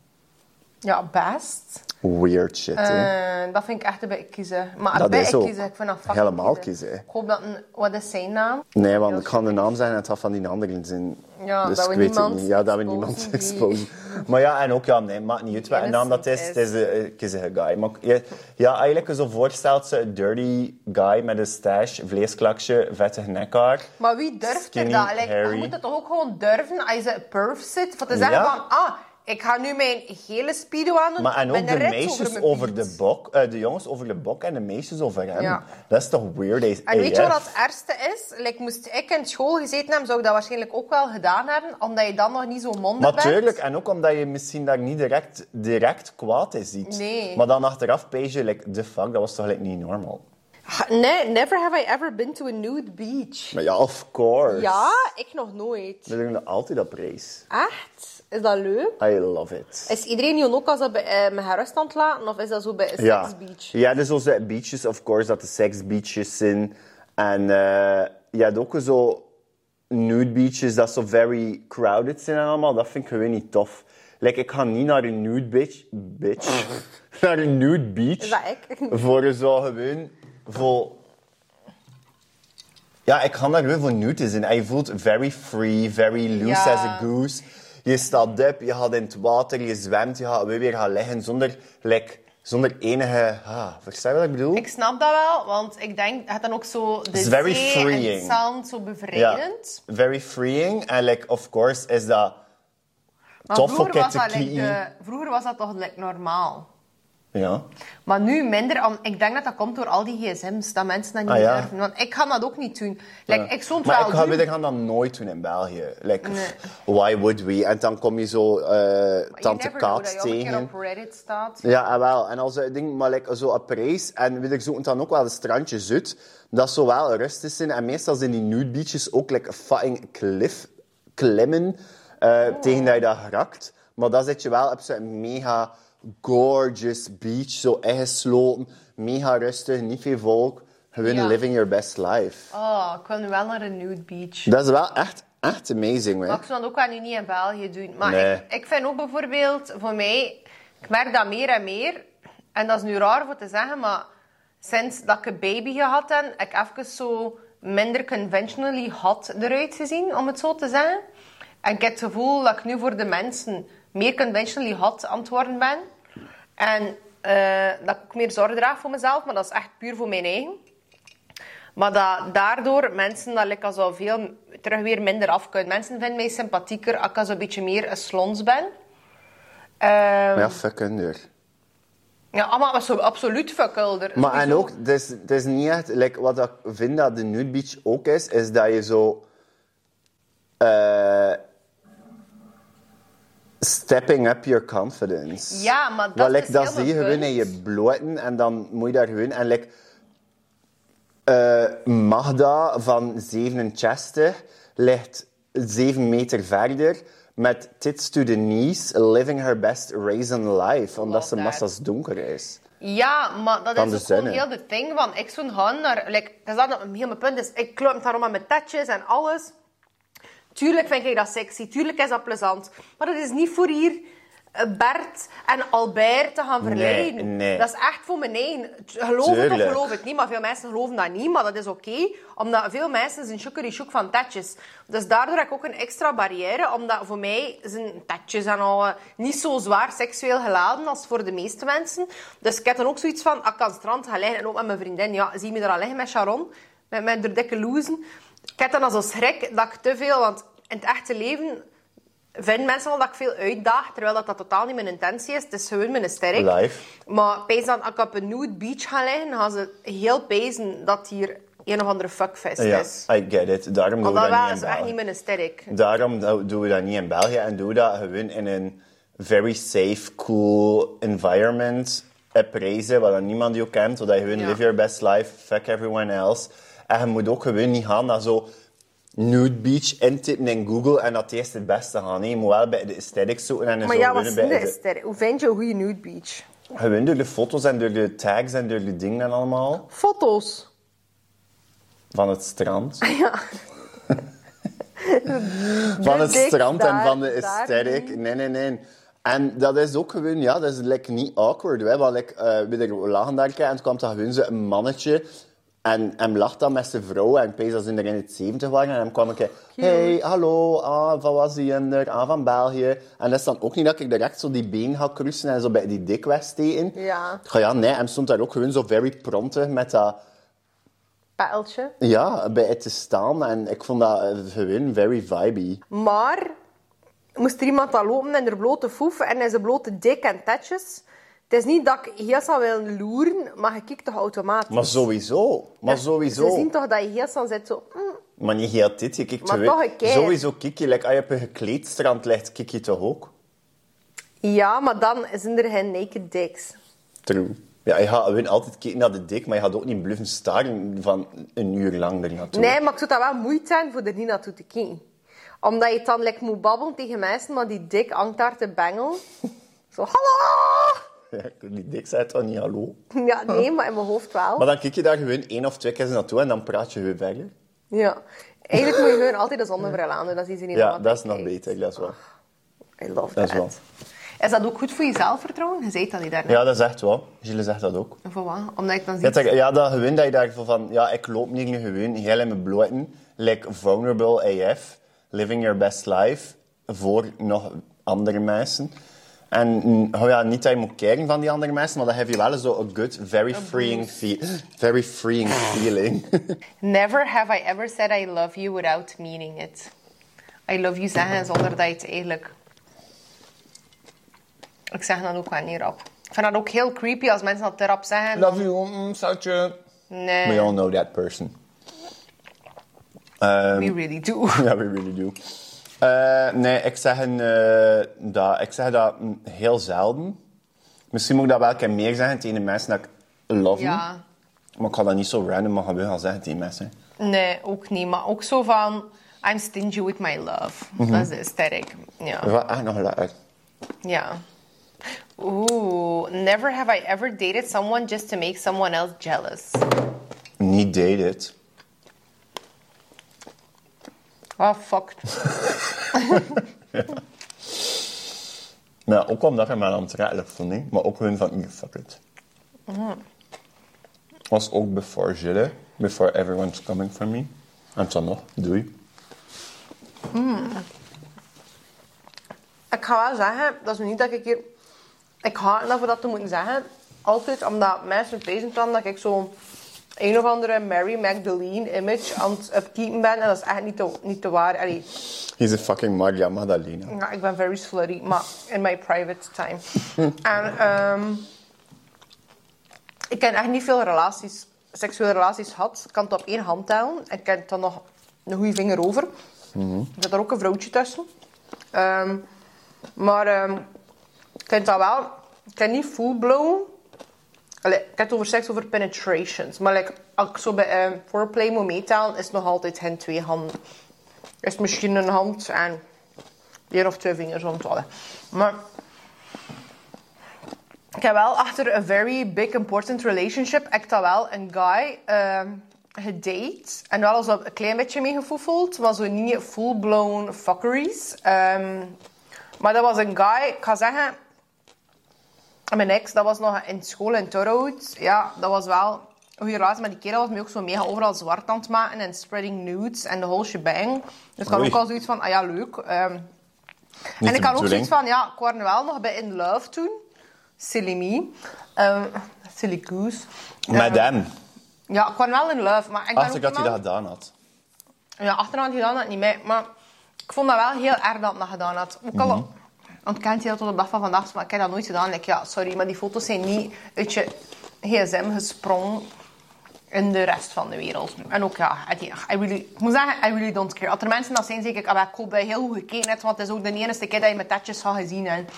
Speaker 1: Ja, best.
Speaker 2: Weird shit, hè.
Speaker 1: Eh, dat vind ik echt een beetje kiezen. Maar
Speaker 2: Dat
Speaker 1: een beetje
Speaker 2: is ook
Speaker 1: kiezen, ik vind dat fucking
Speaker 2: helemaal kiezen.
Speaker 1: Ik hoop dat een... Wat is zijn naam?
Speaker 2: Nee, want ik ga de naam zeggen en het had van die anderen zin.
Speaker 1: Ja,
Speaker 2: dus
Speaker 1: dat we
Speaker 2: ik weet het
Speaker 1: niemand
Speaker 2: niet. Ja, dat we
Speaker 1: exposen
Speaker 2: niemand
Speaker 1: die-
Speaker 2: exposen. Maar ja, en ook, ja, nee, maakt niet uit wat een naam dat is. Het is een het is een guy. Maar ook, ja, ja, eigenlijk zo voorstelt ze een dirty guy met een stash, vleesklakje, vettig nekhaar.
Speaker 1: Maar wie durft
Speaker 2: Skinny
Speaker 1: er dat? Like,
Speaker 2: Harry.
Speaker 1: Je moet het toch ook gewoon durven als je een perf zit? Van te zeggen
Speaker 2: Ja.
Speaker 1: van, ah, ik ga nu mijn gele speedo aan doen.
Speaker 2: Maar en ook
Speaker 1: met
Speaker 2: de
Speaker 1: een rits
Speaker 2: meisjes
Speaker 1: mijn
Speaker 2: over,
Speaker 1: piet.
Speaker 2: de bok, eh, de jongens over de bok en de meisjes over hem.
Speaker 1: Ja.
Speaker 2: Dat is toch weird as
Speaker 1: En weet je
Speaker 2: AF?
Speaker 1: wat het ergste is? Like, moest ik in school gezeten hebben, zou ik dat waarschijnlijk ook wel gedaan hebben. Omdat je dan nog niet zo mondig bent.
Speaker 2: Natuurlijk, en ook omdat je misschien daar niet direct, direct kwaad in ziet.
Speaker 1: Nee.
Speaker 2: Maar dan achteraf pees je, like, the fuck, dat was toch like, niet normaal?
Speaker 1: Nee, never have I ever been to a nude beach.
Speaker 2: Maar ja, of course.
Speaker 1: Ja, ik nog nooit.
Speaker 2: We doen dat altijd op reis.
Speaker 1: Echt? Is dat leuk?
Speaker 2: I love it.
Speaker 1: Is iedereen hier ook als dat bij, eh, met haar rust aan het laten? Of is dat zo bij een seksbeach?
Speaker 2: Ja, dus onze beaches, of course, dat de seksbeaches zijn. En eh, je hebt ook zo nude beaches dat zo very crowded zijn en allemaal. Dat vind ik gewoon niet tof. Like, ik ga niet naar een nude beach... Bitch. [LAUGHS] naar een nude beach.
Speaker 1: Is dat ik? [LAUGHS]
Speaker 2: Voor zo gewoon... Voor... Ja, ik ga daar gewoon voor nude te zijn. En je voelt very free, very loose
Speaker 1: Ja.
Speaker 2: as a goose. Je staat op, je gaat in het water, je zwemt, je gaat weer weer gaan liggen zonder like, Zonder enige... Ah, versta je wat ik bedoel?
Speaker 1: Ik snap dat wel, want ik denk, het had dan ook zo de
Speaker 2: It's very
Speaker 1: zee en het
Speaker 2: freeing.
Speaker 1: zand zo bevrijdend.
Speaker 2: Very freeing. En like, of course, is dat
Speaker 1: Maar
Speaker 2: tof voor
Speaker 1: vroeger was, dat,
Speaker 2: Ketekii.
Speaker 1: like, eh, de- vroeger was dat toch like, normaal.
Speaker 2: Ja.
Speaker 1: Maar nu minder, om- ik denk dat dat komt door al die gsm's, dat mensen dat niet
Speaker 2: Ah, ja.
Speaker 1: durven. Want ik ga dat ook niet doen. Like,
Speaker 2: Ja.
Speaker 1: Ik zou het
Speaker 2: maar
Speaker 1: wel
Speaker 2: ik ga
Speaker 1: doen.
Speaker 2: weet, ik ga dat nooit doen in België. Like,
Speaker 1: Nee.
Speaker 2: pff, why would we? En dan kom je zo eh,
Speaker 1: You
Speaker 2: Tante
Speaker 1: never know
Speaker 2: Kaat
Speaker 1: dat je ook een keer
Speaker 2: tegen.
Speaker 1: op Reddit staat.
Speaker 2: Ja, ah, wel. En als ik ding, maar like, zo op reis, en weet ik, zoek dan ook wel een strandje zut, dat zo wel rustig zijn. En meestal zijn die nude beaches ook like, fucking cliff klimmen eh, tegen dat je dat rakt. Maar dan zit je wel op zo'n mega gorgeous beach, zo ingesloten, mega rustig, niet veel volk. Gewoon
Speaker 1: Ja.
Speaker 2: living your best life.
Speaker 1: Oh, ik wil nu wel naar een nude beach.
Speaker 2: Dat is wel echt, echt amazing, hè?
Speaker 1: Maar ik zou dat ook wel nu niet in België doen. Maar
Speaker 2: Nee.
Speaker 1: ik, ik vind ook bijvoorbeeld, voor mij, ik merk dat meer en meer. En dat is nu raar voor te zeggen, maar sinds dat ik een baby gehad heb, heb ik even zo minder conventionally hot eruit gezien, om het zo te zeggen. En ik heb het gevoel dat ik nu voor de mensen meer conventionally hot aan het worden ben. En eh, dat ik ook meer zorg draag voor mezelf, maar dat is echt puur voor mijn eigen. Maar dat, daardoor mensen dat ik al zo veel terug weer minder af kunnen. Mensen vinden mij sympathieker als ik al zo'n beetje meer een slons ben. Ehm, ja.
Speaker 2: Ja, fucking duur.
Speaker 1: maar was zo absoluut fuckulder.
Speaker 2: Maar en
Speaker 1: Sowieso.
Speaker 2: ook, het is, het is niet echt... Like, wat ik vind dat de nude beach ook is, is dat je zo... eh, stepping up your confidence.
Speaker 1: Ja, maar dat
Speaker 2: Want,
Speaker 1: is
Speaker 2: like,
Speaker 1: dus
Speaker 2: dat
Speaker 1: heel
Speaker 2: zie je
Speaker 1: mijn
Speaker 2: gewoon in
Speaker 1: punt.
Speaker 2: je bloten en dan moet je daar gewoon... En like, eh, Magda van 67 ligt 7 meter verder met tits to the knees, living her best raisin life, omdat ze
Speaker 1: that.
Speaker 2: massa's donker is.
Speaker 1: Ja, maar dat is
Speaker 2: Van de
Speaker 1: ook gewoon
Speaker 2: zinnen.
Speaker 1: heel de ding. Want ik zou gaan naar... Like, dat is dat heel mijn punt is. Ik klomp daarom aan mijn tetjes en alles. Tuurlijk vind ik dat sexy. Tuurlijk is dat plezant. Maar dat is niet voor hier eh, Bert en Albert te gaan verleiden.
Speaker 2: nee.
Speaker 1: Dat is echt voor mijn eigen. T- Geloof het of
Speaker 2: Tuurlijk.
Speaker 1: geloof het niet. Maar veel mensen geloven dat niet. Maar dat is oké. omdat veel mensen zijn sugary shook van tetjes. Dus daardoor heb ik ook een extra barrière. Omdat voor mij zijn tetjes en al eh, niet zo zwaar seksueel geladen als voor de meeste mensen. Dus ik heb dan ook zoiets van, als ik aan het strand ga liggen en ook met mijn vriendin. Ja, zie je me er al liggen met Sharon? Met, met haar dikke loezen. Ik heb dan al zo schrik dat ik te veel... Want in het echte leven vinden mensen wel dat ik veel uitdaag. Terwijl dat, dat totaal niet mijn intentie is. Het is gewoon mijn sterk.
Speaker 2: Live.
Speaker 1: Maar pees dan, als ik op een nude beach ga liggen, gaan ze heel pezen dat hier een of andere fuckfest
Speaker 2: Ja,
Speaker 1: is.
Speaker 2: I get it. Daarom doen
Speaker 1: Want
Speaker 2: we
Speaker 1: dat
Speaker 2: dat
Speaker 1: waren
Speaker 2: niet
Speaker 1: ze
Speaker 2: in
Speaker 1: echt
Speaker 2: België.
Speaker 1: niet mijn sterk.
Speaker 2: Daarom do- doen we dat niet in België en doen we dat gewoon in een very safe, cool environment. Op reizen, waar dan niemand die ook kent, zodat je gewoon
Speaker 1: Ja.
Speaker 2: live your best life, fuck everyone else. En je moet ook gewoon niet gaan naar zo nude beach intippen in Google en dat het eerst het beste gaan. Nee, je moet wel bij de aesthetics zoeken en
Speaker 1: Maar
Speaker 2: zo
Speaker 1: ja,
Speaker 2: gewoon
Speaker 1: wat is
Speaker 2: bij
Speaker 1: de
Speaker 2: de-
Speaker 1: sterk? Hoe vind je een goede nude beach?
Speaker 2: Gewoon door de foto's en door de tags en door de dingen en allemaal
Speaker 1: Foto's.
Speaker 2: van het strand.
Speaker 1: [LAUGHS] Ja.
Speaker 2: van het
Speaker 1: dik
Speaker 2: strand en
Speaker 1: daar,
Speaker 2: van de
Speaker 1: daar
Speaker 2: aesthetic. Nee, nee, nee. En dat is ook gewoon, ja, dat is like, niet awkward. Hè? Want like, eh, weet ik, we lagen daar een keer en toen kwam dat gewoon zo een mannetje. En hem lacht dan met zijn vrouw en pees dat ze er in het 70 waren. En hem kwam een keer, hey, hallo, ah, van was die er? Ah, van België. En dat is dan ook niet dat ik direct zo die been ga kruisen en zo bij die dik wegsteken.
Speaker 1: Ja.
Speaker 2: Ik ga, ja, nee, hem stond daar ook gewoon zo very pronte met dat...
Speaker 1: Pijltje.
Speaker 2: Ja, bij het te staan. En ik vond dat eh, gewoon very vibey.
Speaker 1: Maar moest er iemand al lopen in haar blote foef en in zijn blote dik en tetjes? Het is niet dat ik heel snel wil loeren, maar je kijkt toch automatisch.
Speaker 2: Maar sowieso. Maar
Speaker 1: Dus Ze
Speaker 2: sowieso.
Speaker 1: zien toch dat je heel snel zit zo... mm,
Speaker 2: Maar niet heel dit, je kijkt
Speaker 1: Maar
Speaker 2: te wit.
Speaker 1: toch een keer.
Speaker 2: Sowieso kijk je, like, als je op een gekleed strand ligt, kijk je toch ook?
Speaker 1: Ja, maar dan zijn er geen naked dicks.
Speaker 2: True. Ja, je gaat gewoon altijd kijken naar de dik, maar je gaat ook niet bluffen staren van een uur lang er naartoe.
Speaker 1: Nee, maar ik zou dat wel moeite zijn voor er niet naartoe te kijken. Omdat je het dan like, moet babbelen tegen mensen, maar die dik hangt daar te bengel. [LAUGHS] Zo, hallo! [LAUGHS]
Speaker 2: [LAUGHS] Ja, die dik zei toch niet hallo?
Speaker 1: Ja, nee, maar in mijn hoofd wel.
Speaker 2: Maar dan kijk je daar gewoon één of twee keer naartoe en dan praat je weer verder.
Speaker 1: Ja. Eigenlijk moet je gewoon altijd een zonnebril aan doen, dat is niet
Speaker 2: Ja,
Speaker 1: allemaal
Speaker 2: dat is nog
Speaker 1: kijkt.
Speaker 2: beter, dat is
Speaker 1: Ah.
Speaker 2: waar.
Speaker 1: I love
Speaker 2: Dat
Speaker 1: that.
Speaker 2: is wel.
Speaker 1: Is dat ook goed voor je zelfvertrouwen? Je zei dat niet daarnet.
Speaker 2: Ja, dat is echt wel. Gilles zegt dat ook.
Speaker 1: Voor wat? Omdat ik dan zie...
Speaker 2: Ja, dat, ja, dat gewoon dat je daar zo van, ja, ik loop niet gewoon heel in mijn bloten, like vulnerable AF, living your best life, voor nog andere mensen. En mm, oh ja, niet dat je moet kijken van die andere mensen, maar dat heeft je wel zo een good, very freeing, fe- [GASPS] very freeing feeling.
Speaker 1: Never have I ever said I love you without meaning it. I love you zeggen zonder dat je het eigenlijk... Ik zeg dat ook wel niet rap. Ik vind dat ook heel creepy als mensen dat te rap zeggen.
Speaker 2: Love you, mm, schatje.
Speaker 1: nee,
Speaker 2: We all know that person. Ehm,
Speaker 1: we really do.
Speaker 2: [LAUGHS] Ja, we really do. Eh, nee, ik zeg, een, eh, dat, ik zeg dat mm, heel zelden. Misschien moet ik dat wel een keer meer zeggen tegen de mensen dat ik love you.
Speaker 1: Ja.
Speaker 2: Maar ik ga dat niet zo random maar gewoon gaan zeggen tegen mensen.
Speaker 1: Nee, ook niet. Maar ook zo van... I'm stingy with my love.
Speaker 2: Mhm.
Speaker 1: Dat is de aesthetic. Ja.
Speaker 2: Er gaat echt nog geluid uit.
Speaker 1: Ja. Oeh. Never have I ever dated someone just to make someone else jealous.
Speaker 2: Niet dated.
Speaker 1: Oh, fucked.
Speaker 2: Maar ook omdat ik mij aan het redden vond, hè. maar ook hun van, you fuck it.
Speaker 1: Mhm.
Speaker 2: Was ook before Gilles, before everyone's coming for me. En dan nog, doei.
Speaker 1: Ik ga wel zeggen, dat is nu niet dat ik hier... Ik haat ervan dat te moeten zeggen. Altijd omdat mensen bezig zijn dat ik zo een of andere Mary Magdalene image aan het upkeepen ben. En dat is echt niet te, niet te waar. Allee,
Speaker 2: He's a fucking Maria Magdalena.
Speaker 1: ja, Nou, ik ben very slutty, maar in my private time. en ehm, ik ken echt niet veel relaties, seksuele relaties gehad. Ik kan het op één hand tellen. Ik ken dan nog een goede vinger over. Ik had er ook een vrouwtje tussen. Ehm, maar ehm, ik ken dat wel. Ik ken niet full blown. Allee, ik heb het over seks, over penetrations. Maar like, als ik zo bij eh, foreplay moet meetellen, is het nog altijd hen twee handen. Is misschien een hand en één of twee vingers om het alle. Maar ik heb wel achter een very big important relationship, ik heb wel een guy ehm gedate. En wel eens op een klein beetje meegevoefeld, maar zo niet full-blown fuckeries. Ehm, maar dat was een guy, ik ga zeggen, mijn ex, dat was nog in school in Torhout. Ja, dat was wel een goede relatie, maar die kerel was mij ook zo mega overal zwart aan het maken en spreading nudes en de whole shebang. Dus ik had
Speaker 2: Oei.
Speaker 1: ook al zoiets van, ah ja, leuk. ehm,
Speaker 2: Niet
Speaker 1: en ik
Speaker 2: de
Speaker 1: had ook
Speaker 2: bedoeling.
Speaker 1: zoiets van, ja, ik was er wel nog bij In Love toen. Silly me. Ehm, silly goose. Ehm,
Speaker 2: Met hem.
Speaker 1: Ja, ik was wel In Love. Maar ik ben
Speaker 2: Dacht
Speaker 1: ook
Speaker 2: ik dat hij
Speaker 1: iemand-
Speaker 2: dat gedaan had.
Speaker 1: Ja, achteraan gedaan had niet mee. Maar ik vond dat wel heel erg dat hij dat gedaan had. Ook al
Speaker 2: Mhm.
Speaker 1: ontkent hij dat tot de dag van vandaag, maar ik heb dat nooit gedaan. Like, ja, sorry, maar die foto's zijn niet uit je gsm gesprongen in de rest van de wereld. En ook ja, I, think- I really, ik moet zeggen, I really don't care. Als er mensen dat zijn, zeg ik, ah, maar ik hoop dat je heel goed gekeken hebt, want het is ook de enige keer dat je mijn tetjes gaat gezien hebt.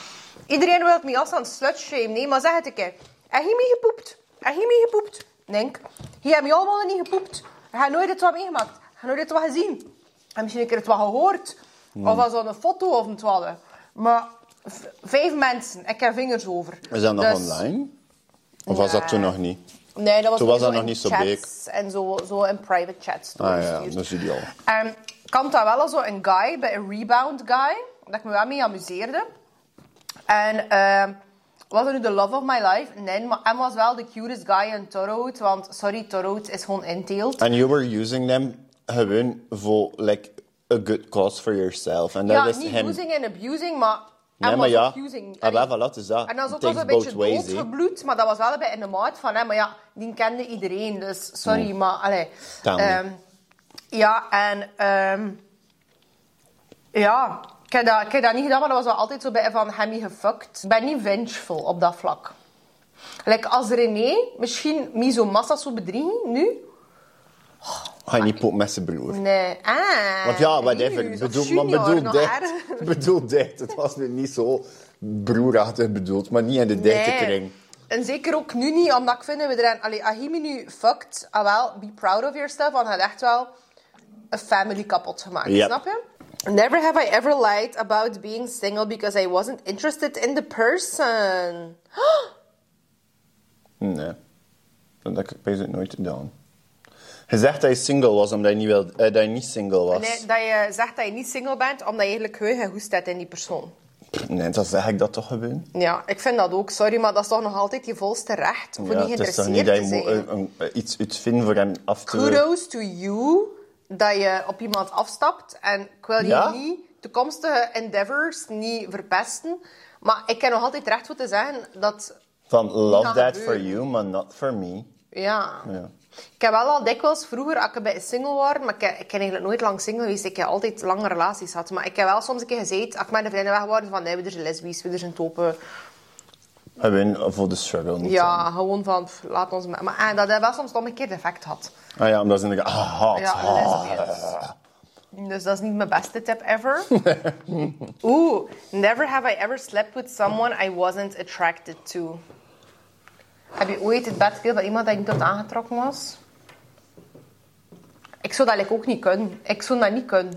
Speaker 1: Iedereen wil me als aan slutshame, nee, maar zeg het een keer. Heb je mee gepoept? Heb je mee gepoept? Denk. Hier heb je allemaal niet gepoept. Je hebt nooit het wat meegemaakt. Je hebt nooit het wat gezien. Je hebt misschien een keer het wat gehoord.
Speaker 2: Hmm.
Speaker 1: Of als een foto of een twaalf. Maar v- vijf mensen, ik heb vingers over.
Speaker 2: Is dat nog
Speaker 1: Dus-
Speaker 2: online? Of was dat toen nog niet?
Speaker 1: Nee, dat was,
Speaker 2: Toen was
Speaker 1: meer
Speaker 2: dat
Speaker 1: zo
Speaker 2: nog
Speaker 1: in
Speaker 2: niet zo
Speaker 1: chats En zo, zo in private chats.
Speaker 2: Ah ja,
Speaker 1: doorgestuurd.
Speaker 2: dat is ideaal.
Speaker 1: Ehm, ik had dat wel als zo een guy, bij een rebound guy, dat ik me wel mee amuseerde. En ehm, was dat nu de love of my life? Nee, maar hij was wel de cutest guy in Torhout, want sorry, Torhout is gewoon inteelt.
Speaker 2: And you were using them gewoon voor like a good cause for yourself. And
Speaker 1: Ja,
Speaker 2: that is
Speaker 1: niet
Speaker 2: him.
Speaker 1: using en abusing, maar hij
Speaker 2: nee,
Speaker 1: was
Speaker 2: maar ja.
Speaker 1: abusing.
Speaker 2: Ah,
Speaker 1: Allee.
Speaker 2: wel, voilà, het is dat.
Speaker 1: En dat is ook
Speaker 2: It
Speaker 1: wel
Speaker 2: takes
Speaker 1: een beetje
Speaker 2: both ways, hè.
Speaker 1: doodgebloed, maar dat was wel een beetje in de maat van, hè, maar ja, die kende iedereen, dus sorry, maar allee.
Speaker 2: Kan niet.
Speaker 1: Ehm, ja, en ehm, ja, ik heb, dat, ik heb dat niet gedaan, maar dat was wel altijd zo bij van, hem gefucked. Ik ben niet vengeful op dat vlak. Like, als René misschien me zo massa zou bedriegen, nu?
Speaker 2: Ga je niet poep met zijn broer.
Speaker 1: Nee. Ah,
Speaker 2: Want ja, wat
Speaker 1: Rius
Speaker 2: even.
Speaker 1: of
Speaker 2: Bedoel, maar
Speaker 1: Junior,
Speaker 2: bedoel
Speaker 1: nog
Speaker 2: dit.
Speaker 1: erger.
Speaker 2: [LAUGHS] Bedoel dit. Het was nu niet zo broerachtig bedoeld, maar niet in de derde kring.
Speaker 1: En zeker ook nu niet, omdat ik vind dat we erin... Allee, als je me nu fucked, ah wel, be proud of yourself, want je hebt echt wel een family kapot gemaakt,
Speaker 2: Yep.
Speaker 1: snap je? Never have I ever lied about being single because I wasn't interested in the person.
Speaker 2: Nee. Dat heb ik bijzonder nooit gedaan. Je zegt dat je single was omdat je niet, wilde, eh, dat je niet single was.
Speaker 1: Nee, dat je zegt dat je niet single bent, omdat je eigenlijk heel gehoest hebt in die persoon.
Speaker 2: Pff, nee, dan zeg ik dat toch gewoon.
Speaker 1: Ja, ik vind dat ook, sorry, maar dat is toch nog altijd je volste recht voor
Speaker 2: Ja,
Speaker 1: niet
Speaker 2: het is toch niet
Speaker 1: geïnteresseerd
Speaker 2: dat je
Speaker 1: te zijn.
Speaker 2: moet, eh, een- eh, iets uitvinden voor hem af te...
Speaker 1: kudos to you dat je op iemand afstapt. En ik wil je
Speaker 2: Ja?
Speaker 1: niet toekomstige endeavors niet verpesten. Maar ik heb nog altijd recht voor te zeggen dat...
Speaker 2: Van love
Speaker 1: gaat
Speaker 2: that for
Speaker 1: gebeuren.
Speaker 2: you, but not for me.
Speaker 1: Ja.
Speaker 2: Ja.
Speaker 1: Ik heb wel al dikwijls vroeger, als ik bij single was, maar ik, ik ben eigenlijk nooit lang single geweest. Ik heb altijd lange relaties gehad. Maar ik heb wel soms een keer gezeten, als ik met de vrienden weg waren, van nee, we zijn lesbisch, we zijn topen.
Speaker 2: I win voor de struggle niet.
Speaker 1: Ja, gewoon van, pff, laat ons... Maar, maar en dat heeft wel soms een keer effect had.
Speaker 2: Ah ja, omdat ze denken, ah, hot,
Speaker 1: Ja,
Speaker 2: ah.
Speaker 1: lesbians. Dus dat is niet mijn beste tip
Speaker 2: [LAUGHS]
Speaker 1: ever. Oeh, never have I ever slept with someone I wasn't attracted to. Heb je ooit het bed gedeeld bij iemand dat je niet tot aangetrokken was? Ik zou dat like, ook niet kunnen. Ik zou dat niet kunnen.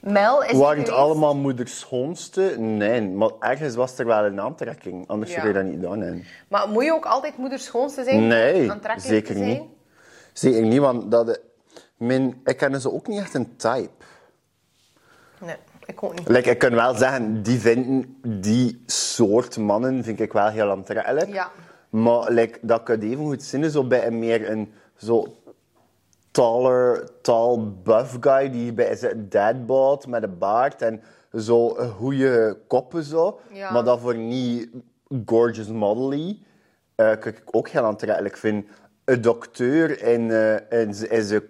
Speaker 1: Mel is
Speaker 2: Waren het
Speaker 1: geweest-
Speaker 2: allemaal moeders schoonste? Nee, maar ergens was er wel een aantrekking. Anders
Speaker 1: Ja.
Speaker 2: zou je dat niet doen. hè.
Speaker 1: Maar moet je ook altijd moeders schoonste zijn?
Speaker 2: Nee,
Speaker 1: Aantrekkelijk
Speaker 2: zeker
Speaker 1: te zijn?
Speaker 2: niet. Zeker niet, want dat, mijn, ik ken ze ook niet echt een type.
Speaker 1: Nee, ik ook niet.
Speaker 2: Like, ik kan wel zeggen, die vinden die soort mannen vind ik wel heel aantrekkelijk.
Speaker 1: Ja.
Speaker 2: Maar like, dat kan even goed zinnen zo bij een meer een zo taller, tall buff guy die bij zijn deadbot met een baard en zo een goede koppen zo.
Speaker 1: Ja.
Speaker 2: Maar dat voor niet gorgeous modely eh kan ik ook heel aantrekkelijk vind. Een dokter in, eh in, z- in zijn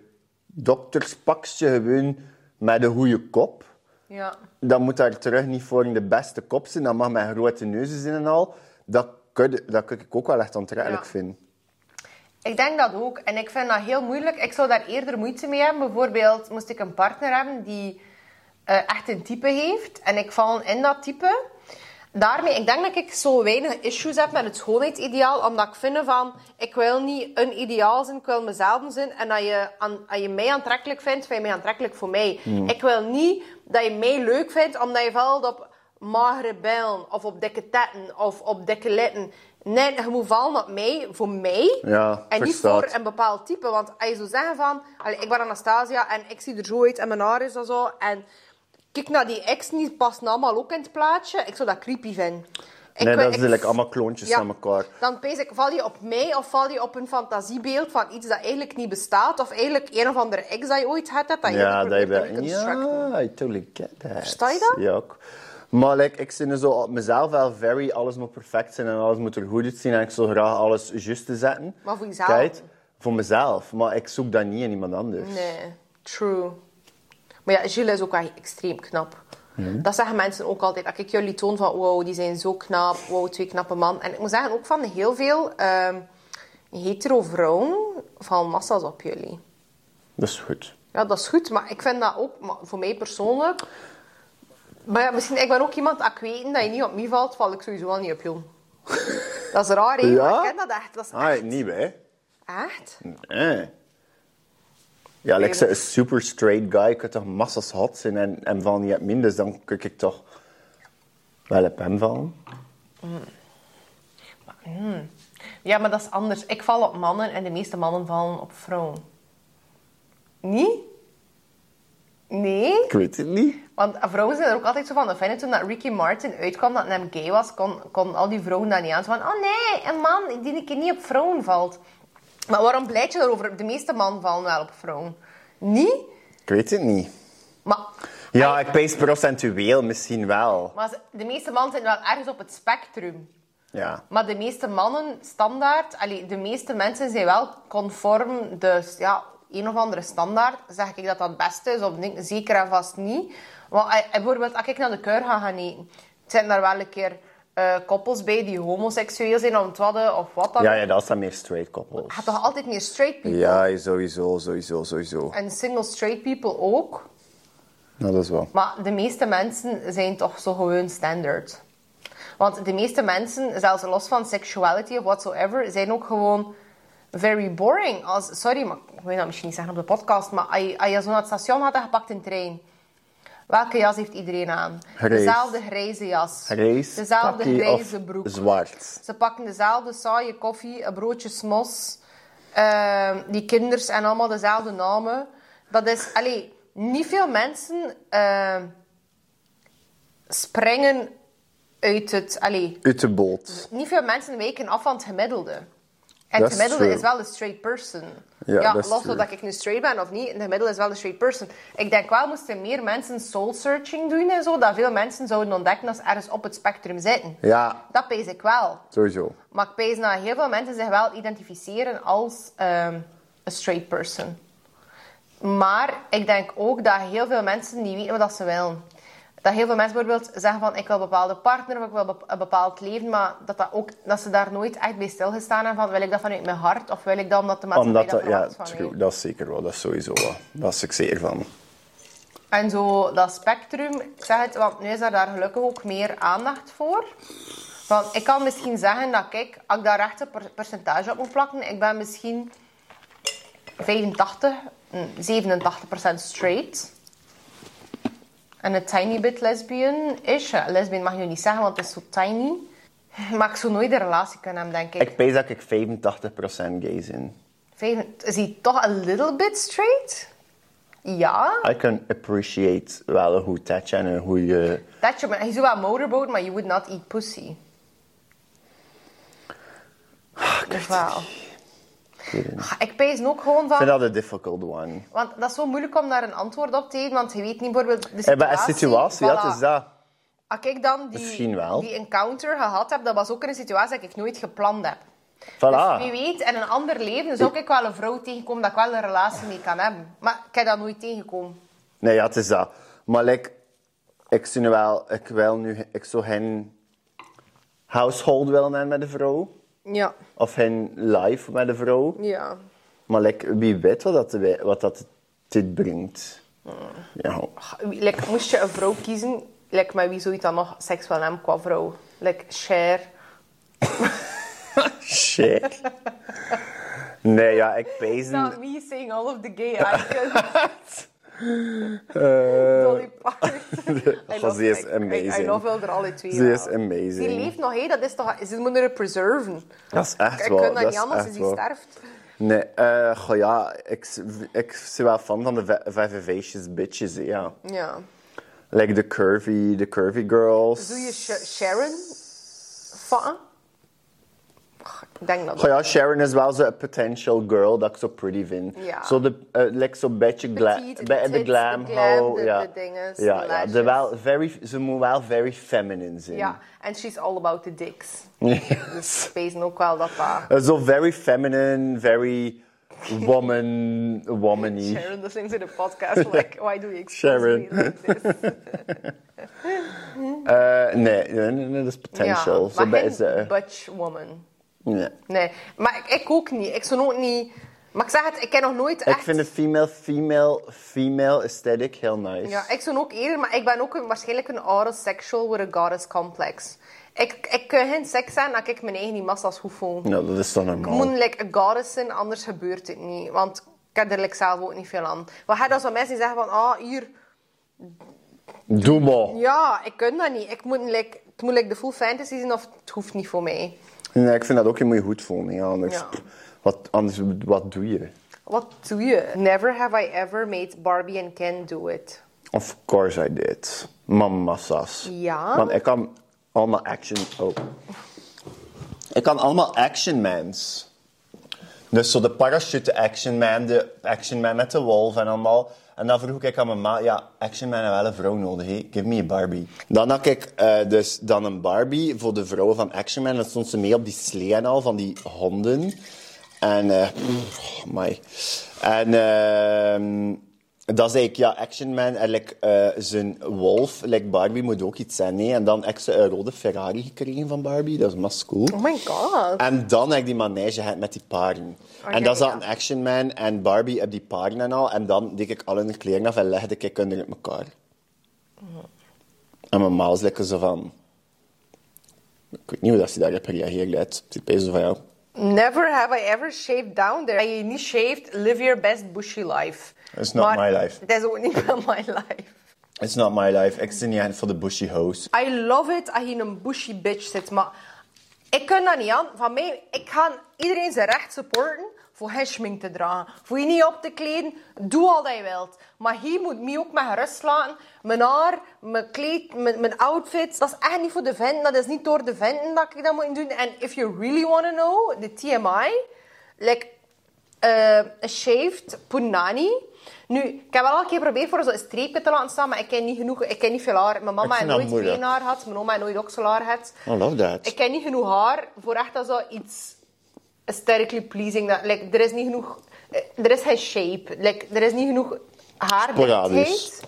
Speaker 2: dokterspakje gewoon met een goede kop
Speaker 1: Ja.
Speaker 2: dan moet daar terug niet voor in de beste kop zijn. Dan mag mijn grote neuzen zijn en al. Dat kun, dat kun ik ook wel echt aantrekkelijk
Speaker 1: Ja.
Speaker 2: vinden.
Speaker 1: Ik denk dat ook. En ik vind dat heel moeilijk. Ik zou daar eerder moeite mee hebben. Bijvoorbeeld moest ik een partner hebben die eh, echt een type heeft. En ik val in dat type. Daarmee, ik denk dat ik zo weinig issues heb met het schoonheidsideaal. Omdat ik vind van, ik wil niet een ideaal zijn. Ik wil mezelf zijn. En dat je, aan, als je mij aantrekkelijk vindt, vind je mij aantrekkelijk voor mij.
Speaker 2: Mm.
Speaker 1: Ik wil niet dat je mij leuk vindt, omdat je valt op magere bijlen. Of op dikke tetten. Of op dikke litten. Nee, je moet vallen op mij, voor mij.
Speaker 2: Ja,
Speaker 1: En niet
Speaker 2: verstaat.
Speaker 1: voor een bepaald type. Want als je zou zeggen van... allee, ik ben Anastasia en ik zie er zo uit en mijn haar is dat zo. En kijk naar die ex, die passen allemaal ook in het plaatje. Ik zou dat creepy vinden. Ik wil-
Speaker 2: nee, dat is
Speaker 1: ik-
Speaker 2: eigenlijk allemaal kloontjes aan elkaar.
Speaker 1: Dan pees ik, val je op mij of val je op een fantasiebeeld van iets dat eigenlijk niet bestaat? Of eigenlijk een of andere ex dat je ooit had, dat je
Speaker 2: Ja,
Speaker 1: niet
Speaker 2: dat je
Speaker 1: probeert te
Speaker 2: bij-
Speaker 1: reconstructen.
Speaker 2: Ja, I totally get that.
Speaker 1: Versta je dat?
Speaker 2: Ja, ook. Maar like, ik zit er zo op mezelf wel very... Alles moet perfect zijn en alles moet er goed uitzien. En ik zou graag alles juist te zetten.
Speaker 1: Maar voor jezelf?
Speaker 2: Kijk, voor mezelf. Maar ik zoek dat niet in iemand anders.
Speaker 1: Nee, true. Maar ja, Jules is ook wel extreem knap.
Speaker 2: Mhm.
Speaker 1: Dat zeggen mensen ook altijd. Als ik jullie toon van, wow, die zijn zo knap. Wow, twee knappe man. En ik moet zeggen, ook van heel veel ehm hetero vrouwen vallen massa's op jullie.
Speaker 2: Dat is goed.
Speaker 1: Ja, dat is goed, maar ik vind dat ook, maar voor mij persoonlijk... Maar ja, misschien, ik ben ook iemand, als ik weet dat je niet op mij valt, val ik sowieso wel niet op jou. dat is raar, hè?
Speaker 2: Ja?
Speaker 1: Maar ik ken dat echt. Dat is
Speaker 2: Ah,
Speaker 1: echt.
Speaker 2: niet hè?
Speaker 1: Echt?
Speaker 2: Eh. Ja, like, ze- een super straight guy kan toch massas hot zijn en, en van niet op min, dus dan kijk ik toch wel op hem vallen.
Speaker 1: Ja, maar dat is anders. Ik val op mannen en de meeste mannen vallen op vrouwen. Niet? Nee?
Speaker 2: Ik weet het niet.
Speaker 1: Want vrouwen zijn er ook altijd zo van. Ik vind het toen dat Ricky Martin uitkwam dat hem gay was, kon, kon al die vrouwen dat niet aan. Zo van, oh nee, een man die een keer niet op vrouwen valt. Maar waarom blijf je daarover? De meeste mannen vallen wel op vrouwen. Niet?
Speaker 2: Ik weet het niet.
Speaker 1: Maar
Speaker 2: Ja, ik pees procentueel misschien wel.
Speaker 1: Maar ze- de meeste mannen zijn wel ergens op het spectrum.
Speaker 2: Ja.
Speaker 1: Maar de meeste mannen, standaard, allee, de meeste mensen zijn wel conform. Dus ja, een of andere standaard zeg ik dat dat het beste is, of niet, zeker en vast niet. Want eh, bijvoorbeeld, als ik naar de keur ga gaan eten, zijn daar wel een keer eh, koppels bij die homoseksueel zijn om het wadden of wat dan.
Speaker 2: Ja,
Speaker 1: ook.
Speaker 2: ja, dat zijn meer straight
Speaker 1: Je hebt
Speaker 2: koppels.
Speaker 1: toch altijd meer straight people?
Speaker 2: Ja, sowieso, sowieso, sowieso.
Speaker 1: En single straight people ook.
Speaker 2: Nou, dat is wel.
Speaker 1: Maar de meeste mensen zijn toch zo gewoon standaard. Want de meeste mensen, zelfs los van sexuality of whatsoever, zijn ook gewoon very boring. Als, sorry, maar ik wil dat misschien niet zeggen op de podcast, maar als je, als je zo naar het station had en je pakt een trein, welke jas heeft iedereen aan?
Speaker 2: Grijs.
Speaker 1: Dezelfde grijze jas.
Speaker 2: Race,
Speaker 1: Dezelfde
Speaker 2: pakkie of
Speaker 1: grijze broek.
Speaker 2: Zwart.
Speaker 1: Ze pakken dezelfde saaie koffie, een broodje smos. eh, die kinders en allemaal dezelfde namen. Dat is, allee, niet veel mensen eh, springen uit het, allee,
Speaker 2: Uit de boot.
Speaker 1: niet veel mensen wijken af van het gemiddelde. En
Speaker 2: Dat
Speaker 1: het
Speaker 2: is
Speaker 1: gemiddelde
Speaker 2: true.
Speaker 1: is wel een straight person.
Speaker 2: Ja,
Speaker 1: Ja,
Speaker 2: dat is
Speaker 1: los
Speaker 2: true.
Speaker 1: of dat ik nu straight ben of niet, het gemiddelde is wel een straight person. Ik denk wel, moesten meer mensen soul searching doen en zo, dat veel mensen zouden ontdekken dat ze ergens op het spectrum zitten.
Speaker 2: Ja,
Speaker 1: Dat pees ik wel.
Speaker 2: sowieso.
Speaker 1: Maar ik pees dat heel veel mensen zich wel identificeren als ehm, een straight person. Maar ik denk ook dat heel veel mensen niet weten wat ze willen. Dat heel veel mensen bijvoorbeeld zeggen van ik wil een bepaalde partner of ik wil bep- een bepaald leven, maar dat, dat, ook, dat ze daar nooit echt bij stilgestaan hebben van wil ik dat vanuit mijn hart of wil ik dat omdat de maatschappij
Speaker 2: Omdat
Speaker 1: dat
Speaker 2: dat, ja,
Speaker 1: verwacht van mij.
Speaker 2: true, dat is zeker wel. Dat is sowieso wel. Dat is ik zeker van.
Speaker 1: En zo dat spectrum, ik zeg het, want nu is er daar gelukkig ook meer aandacht voor. Want ik kan misschien zeggen dat kijk, als ik daar echt een per- percentage op moet plakken, ik ben misschien 85, mm, 87% straight. En een tiny bit lesbian is. Ja, lesbian mag je niet zeggen, want het is zo tiny. Maar ik zou nooit een relatie kunnen hebben, denk ik.
Speaker 2: Ik pees dat ik 85% gay ben.
Speaker 1: Vijf- Is hij toch een little bit straight? Ja.
Speaker 2: I can appreciate wel een goed touch en een goede...
Speaker 1: Dat je, hij is wel motorboot, maar you would not eat pussy.
Speaker 2: Ah,
Speaker 1: Dus wel.
Speaker 2: Ik weet het niet.
Speaker 1: Ah, Ik pees ook gewoon
Speaker 2: Ik
Speaker 1: van...
Speaker 2: vind dat een difficult one.
Speaker 1: Want dat is zo moeilijk om daar een antwoord op te geven, want je weet niet bijvoorbeeld de
Speaker 2: Eh,
Speaker 1: situatie.
Speaker 2: maar een situatie, ja, het
Speaker 1: voilà.
Speaker 2: is dat.
Speaker 1: Als ik dan die,
Speaker 2: Misschien wel.
Speaker 1: die encounter gehad heb, dat was ook een situatie dat ik nooit gepland heb. Dus wie
Speaker 2: Voilà.
Speaker 1: weet, in een ander leven zou ik wel een vrouw tegenkomen dat ik wel een relatie mee kan hebben. Maar ik heb dat nooit tegengekomen.
Speaker 2: Nee, ja, het is dat. Maar like, ik zie nu wel... Ik wil nu... Ik zou geen household willen hebben met een vrouw.
Speaker 1: Ja,
Speaker 2: Of geen life met een vrouw.
Speaker 1: ja.
Speaker 2: Maar like, wie weet wat dat, wij- wat dat dit brengt.
Speaker 1: Hmm.
Speaker 2: Ja.
Speaker 1: Like, moest je een vrouw kiezen, like, met wie zou je dan nog seks willen hebben qua vrouw? Like, share.
Speaker 2: Shit. Nee, ja, ik pees
Speaker 1: Not Nou, me saying all of the gay icons. [LAUGHS] Dolly [LAUGHS] Parton. I
Speaker 2: God,
Speaker 1: love-
Speaker 2: die is
Speaker 1: I- I- I
Speaker 2: amazing.
Speaker 1: love wel er alle twee.
Speaker 2: Ze is
Speaker 1: wel. Die
Speaker 2: amazing.
Speaker 1: leeft nog, hé. Dat is toch... Ze moeten haar preserven.
Speaker 2: Dat is echt
Speaker 1: Ik
Speaker 2: wel.
Speaker 1: kan dat
Speaker 2: is
Speaker 1: niet anders
Speaker 2: echt
Speaker 1: als die
Speaker 2: wel.
Speaker 1: sterft.
Speaker 2: Nee, eh, goh ja, ik, s- ik ben wel fan van de va- vijverveesjes bitches, hè, ja.
Speaker 1: Ja.
Speaker 2: Like the curvy, the curvy girls.
Speaker 1: Doe je Sh- Sharon van? Ach, Ik denk dat
Speaker 2: Goh ja, Sharon is wel zo'n potential girl dat ik zo pretty vind.
Speaker 1: Ja.
Speaker 2: Zo de, eh, like zo'n beetje gla
Speaker 1: Petite, de
Speaker 2: bij- de,
Speaker 1: tits, de
Speaker 2: glam,
Speaker 1: glam,
Speaker 2: ho,
Speaker 1: de-
Speaker 2: ja.
Speaker 1: de dinges, de
Speaker 2: ja, ja. De
Speaker 1: lashes.
Speaker 2: wel very, ze moet wel very feminine zijn.
Speaker 1: Ja, en she's all about the dicks.
Speaker 2: Yes.
Speaker 1: Wezen ook wel dat pa. [LAUGHS]
Speaker 2: Eh, Zo very feminine, very
Speaker 1: [LAUGHS]
Speaker 2: woman, womany.
Speaker 1: Sharon, dat links in de podcast. Like, why do you expose
Speaker 2: Sharon.
Speaker 1: me like this?
Speaker 2: Eh, nee, nee, nee, nee, dat is potential.
Speaker 1: Ja,
Speaker 2: Zo
Speaker 1: maar
Speaker 2: bij
Speaker 1: geen
Speaker 2: is eh,
Speaker 1: butch woman.
Speaker 2: nee.
Speaker 1: Nee, maar ik, ik ook niet. Ik zou ook niet... Maar ik zeg het, ik ken nog nooit echt...
Speaker 2: Ik vind de female, female, female aesthetic heel nice.
Speaker 1: Ja, ik zou ook eerder... Maar ik ben ook een, waarschijnlijk een autosexual with a goddess complex. Ik, ik kan geen seks zijn als ik mijn eigen niet massas goed voel.
Speaker 2: Nou, dat is dan normaal.
Speaker 1: Ik moet like, een goddess zijn, anders gebeurt het niet. Want ik heb er like, zelf ook niet veel aan. Wat gaat als mensen die zeggen van... Ah, hier...
Speaker 2: Doe maar.
Speaker 1: Ja, ik kan dat niet. Ik moet, like, het moet like, de full fantasy zijn of het hoeft niet voor mij.
Speaker 2: Nee, ik vind dat ook, je moet je goed voelen. Ja, anders,
Speaker 1: Ja.
Speaker 2: pff, wat, anders, wat doe je?
Speaker 1: Wat doe je? Never have I ever made Barbie and Ken do it.
Speaker 2: Of course I did. Mamassa's.
Speaker 1: Ja?
Speaker 2: Want ik kan allemaal action... Oh. Ik kan allemaal action mans. Dus zo de parachute action man, de action man met de wolf en allemaal. En dan vroeg ik aan mijn ma, ja, action man heeft wel een vrouw nodig, hey, give me a Barbie. Dan had ik eh, dus dan een Barbie voor de vrouwen van action man. Dan stond ze mee op die slee en al, van die honden. En, eh pff, oh my. En ehm, dan zei ik, ja, action man en like, eh, zijn wolf, like Barbie moet ook iets zijn. nee. En dan heb ik ze een rode Ferrari gekregen van Barbie, dat is must cool.
Speaker 1: Oh my god.
Speaker 2: En dan heb ik die manege gehad met die paarden.
Speaker 1: Oké,
Speaker 2: en dat zat
Speaker 1: Oh, ja.
Speaker 2: een Action Man en Barbie op die paarden en al. En dan deed ik al hun kleren af en legde ik onder het elkaar. En mijn ma was lekker zo van... Ik weet niet hoe dat ze daarop gereageerd heeft. Ze zei zo van, ja...
Speaker 1: Never have I ever shaved down there. Als je niet shaved, live your best bushy life.
Speaker 2: It's not my life.
Speaker 1: Dat is ook [LAUGHS] niet wel my life.
Speaker 2: It's not my life. Ik zit niet aan voor de bushy hoes.
Speaker 1: I love it als je in een bushy bitch zit, maar ik kan dat niet aan. Van mij, ik ga iedereen zijn recht supporten voor geen schmink te dragen. Voor je niet op te kleden, doe al dat je wilt. Maar hier moet mij ook met gerust laten. Mijn haar, mijn kleed, mijn, mijn outfit, dat is echt niet voor de venten. Dat is niet door de venten dat ik dat moet doen. En if you really want to know, de TMI... like, eh, een shaved punani. Nu, ik heb wel een keer geprobeerd voor zo'n streepje te laten staan, maar ik ken niet genoeg, ik ken niet veel haar. Mijn mama
Speaker 2: vind
Speaker 1: heeft
Speaker 2: dat
Speaker 1: nooit
Speaker 2: moeilijk.
Speaker 1: geen haar gehad, mijn oma heeft nooit okselaar gehad.
Speaker 2: I love that.
Speaker 1: Ik ken niet genoeg haar voor echt dat zo iets aesthetically pleasing. Dat, like, er is niet genoeg... eh, Er is geen shape. Like, er is niet genoeg
Speaker 2: Sporadisch.
Speaker 1: haardichtheid.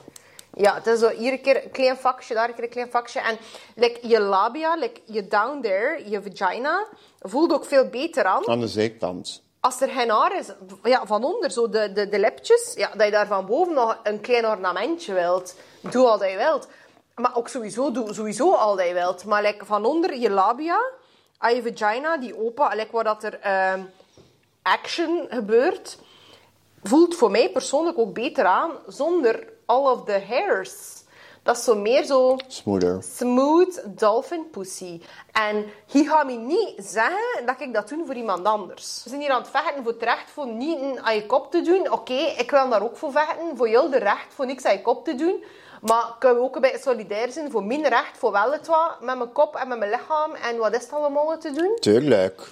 Speaker 1: Ja, het is zo hier een keer een klein vakje, daar een keer een klein vakje. En like, je labia, like, je down there, je vagina, voelt ook veel beter aan.
Speaker 2: Aan de zijkant.
Speaker 1: Als er geen haar is, ja, van onder, zo de, de, de lipjes, ja, dat je daar van boven nog een klein ornamentje wilt. Doe al dat je wilt. Maar ook sowieso, doe sowieso al dat je wilt. Maar like, van onder je labia, aan je vagina, die open, like, waar dat er ehm, action gebeurt, voelt voor mij persoonlijk ook beter aan zonder all of the hairs. Dat is zo meer zo
Speaker 2: Smoother.
Speaker 1: smooth dolphin pussy. En hij gaat me niet zeggen dat ik dat doe voor iemand anders. We zijn hier aan het vechten voor het recht voor niet aan je kop te doen. Oké, ik wil daar ook voor vechten. Voor jou de recht voor niks aan je kop te doen. Maar kunnen we ook een beetje solidair zijn voor mijn recht, voor wel het wat, met mijn kop en met mijn lichaam en wat is het allemaal te doen?
Speaker 2: Tuurlijk.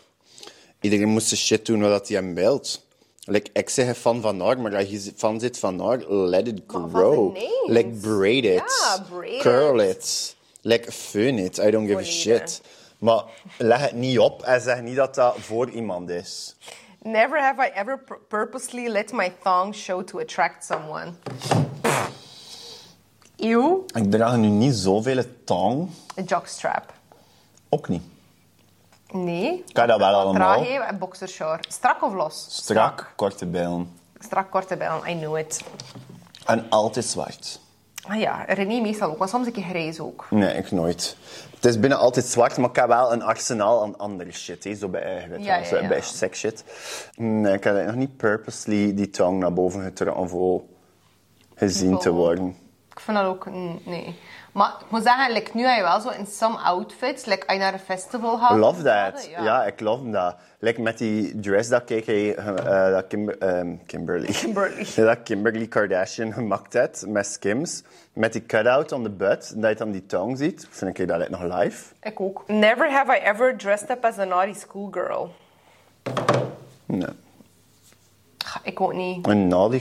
Speaker 2: Iedereen moest de shit doen wat hij hem wilt. Like, ik zeg een fan van haar, maar als je fan zit van haar, let it
Speaker 1: van
Speaker 2: grow.
Speaker 1: de nails.
Speaker 2: Like, braid it.
Speaker 1: Ja, braid
Speaker 2: Curl it. Like, fun it. I don't give a
Speaker 1: Volledig.
Speaker 2: shit. Maar leg het niet op en zeg niet dat dat voor iemand is.
Speaker 1: Never have I ever purposely let my thong show to attract someone. Ew,
Speaker 2: Ik draag nu niet zoveel tong.
Speaker 1: a jockstrap.
Speaker 2: Ook niet.
Speaker 1: Nee.
Speaker 2: Kan dat wel
Speaker 1: Traag
Speaker 2: allemaal.
Speaker 1: even en boxershort. Strak of los?
Speaker 2: Strak, korte bijlen.
Speaker 1: Strak, korte bijl, I know it.
Speaker 2: En altijd zwart.
Speaker 1: Ah ja, René meestal ook, maar soms een keer grijs ook.
Speaker 2: Nee, ik nooit. Het is binnen altijd zwart, maar ik heb wel een arsenaal aan andere shit. Hè. Zo bij, eh, weet je
Speaker 1: Ja,
Speaker 2: wel, zo
Speaker 1: ja, ja.
Speaker 2: bij sex shit. Nee, ik heb eigenlijk nog niet purposely die tong naar boven getrokken voor gezien te
Speaker 1: Vol.
Speaker 2: worden.
Speaker 1: Ik vind dat ook, mm, nee. Maar ik moet zeggen, like, nu heb je wel zo in some outfits, like, als je naar een festival gaat.
Speaker 2: Love that.
Speaker 1: Ja.
Speaker 2: Ja. ik love dat. Like met die dress dat, KK, eh, eh, dat Kimber, ehm, Kimberly.
Speaker 1: Kimberly.
Speaker 2: Ja, [LAUGHS] dat Kimberly Kardashian gemaakt heeft met Skims. Met die cut-out aan de butt, dat je dan die tong ziet. Vind ik dat lijkt nog live?
Speaker 1: Ik ook. Never have I ever dressed up as a naughty schoolgirl.
Speaker 2: Nee.
Speaker 1: Ga, Ik ook niet.
Speaker 2: Een
Speaker 1: Niet, niet
Speaker 2: naughty
Speaker 1: mijn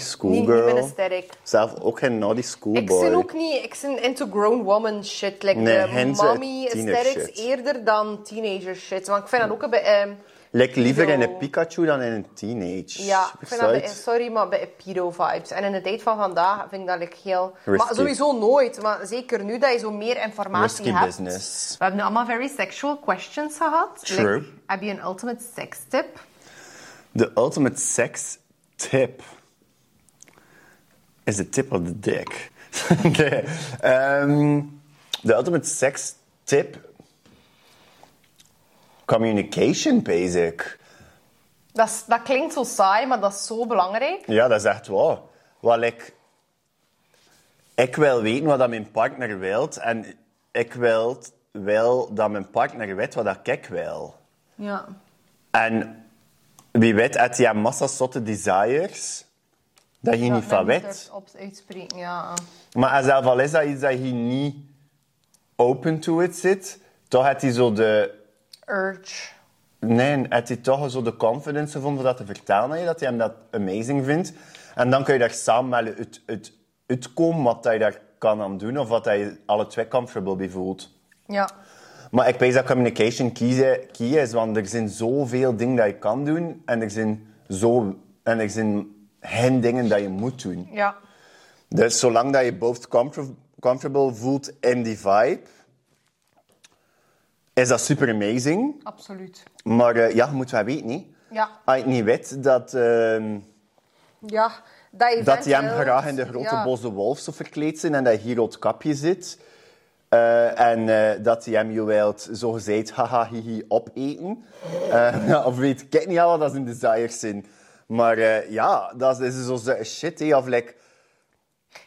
Speaker 2: schoolgirl.
Speaker 1: aesthetic.
Speaker 2: Zelf ook geen naughty
Speaker 1: Ik ben
Speaker 2: schoolboy.
Speaker 1: ook niet, ik ben into grown woman shit. Like
Speaker 2: Nee,
Speaker 1: de
Speaker 2: hen zijn
Speaker 1: mommy
Speaker 2: tiener
Speaker 1: aesthetics
Speaker 2: shit. Hmm.
Speaker 1: eerder dan teenager shit. Want ik vind dat ook een beetje... ehm,
Speaker 2: Lijkt liever
Speaker 1: Zo.
Speaker 2: in een Pikachu dan in een teenage.
Speaker 1: Ja, ik vind dat bij,
Speaker 2: Zoiets.
Speaker 1: sorry, maar bij pedo-vibes. En in de tijd van vandaag vind ik dat like, heel... Maar
Speaker 2: Risky.
Speaker 1: sowieso nooit, maar zeker nu dat je zo meer informatie
Speaker 2: Risky
Speaker 1: hebt.
Speaker 2: business.
Speaker 1: We hebben nu allemaal very sexual questions gehad.
Speaker 2: True.
Speaker 1: Like, heb je een ultimate sex tip?
Speaker 2: De ultimate sex tip is de tip of the [LAUGHS] dick. nee. ehm, de ultimate sex tip. Communication, basic.
Speaker 1: Dat, is- dat klinkt zo saai, maar dat is zo belangrijk.
Speaker 2: Ja, dat is echt waar. Wat ik... Ik wil weten wat dat mijn partner wil. En ik wil, wil dat mijn partner weet wat dat ik wil.
Speaker 1: Ja.
Speaker 2: En wie weet, uit die massa zotte desires, dat je niet van weet.
Speaker 1: Op uitspreken, ja.
Speaker 2: Maar als zelf al is dat iets dat je niet open to it zit, toch had hij zo de...
Speaker 1: Urge.
Speaker 2: Nee, had hij toch zo de confidence gevonden om dat te vertellen aan je, dat hij hem dat amazing vindt. En dan kun je daar samen met het, het, het komen wat hij daar kan aan doen, of wat hij alle twee comfortable bij voelt.
Speaker 1: Ja.
Speaker 2: Maar ik weet dat communication kiezen, key is, want er zijn zoveel dingen dat je kan doen en er zijn, zo, en er zijn geen dingen dat je moet doen.
Speaker 1: Ja.
Speaker 2: Dus zolang dat je both comfor- comfortable voelt in die vibe, is dat super amazing.
Speaker 1: Absoluut.
Speaker 2: Maar eh, ja, je moet wel weten, niet?
Speaker 1: Ja.
Speaker 2: Als je het niet weet dat, ehm
Speaker 1: Ja. Dat, je
Speaker 2: dat die hem
Speaker 1: eventueel-
Speaker 2: graag in de grote
Speaker 1: ja.
Speaker 2: boze wolf zou verkleed zijn en dat hier rood kapje zit. eh, en eh, dat die hem je wilt, zo gezegd, haha, hihi, opeten. Eh, [LAUGHS] ja, of weet ik niet al wat dat zijn desires zijn. Maar eh, ja, dat is zo zo'n shit, hè. Of like,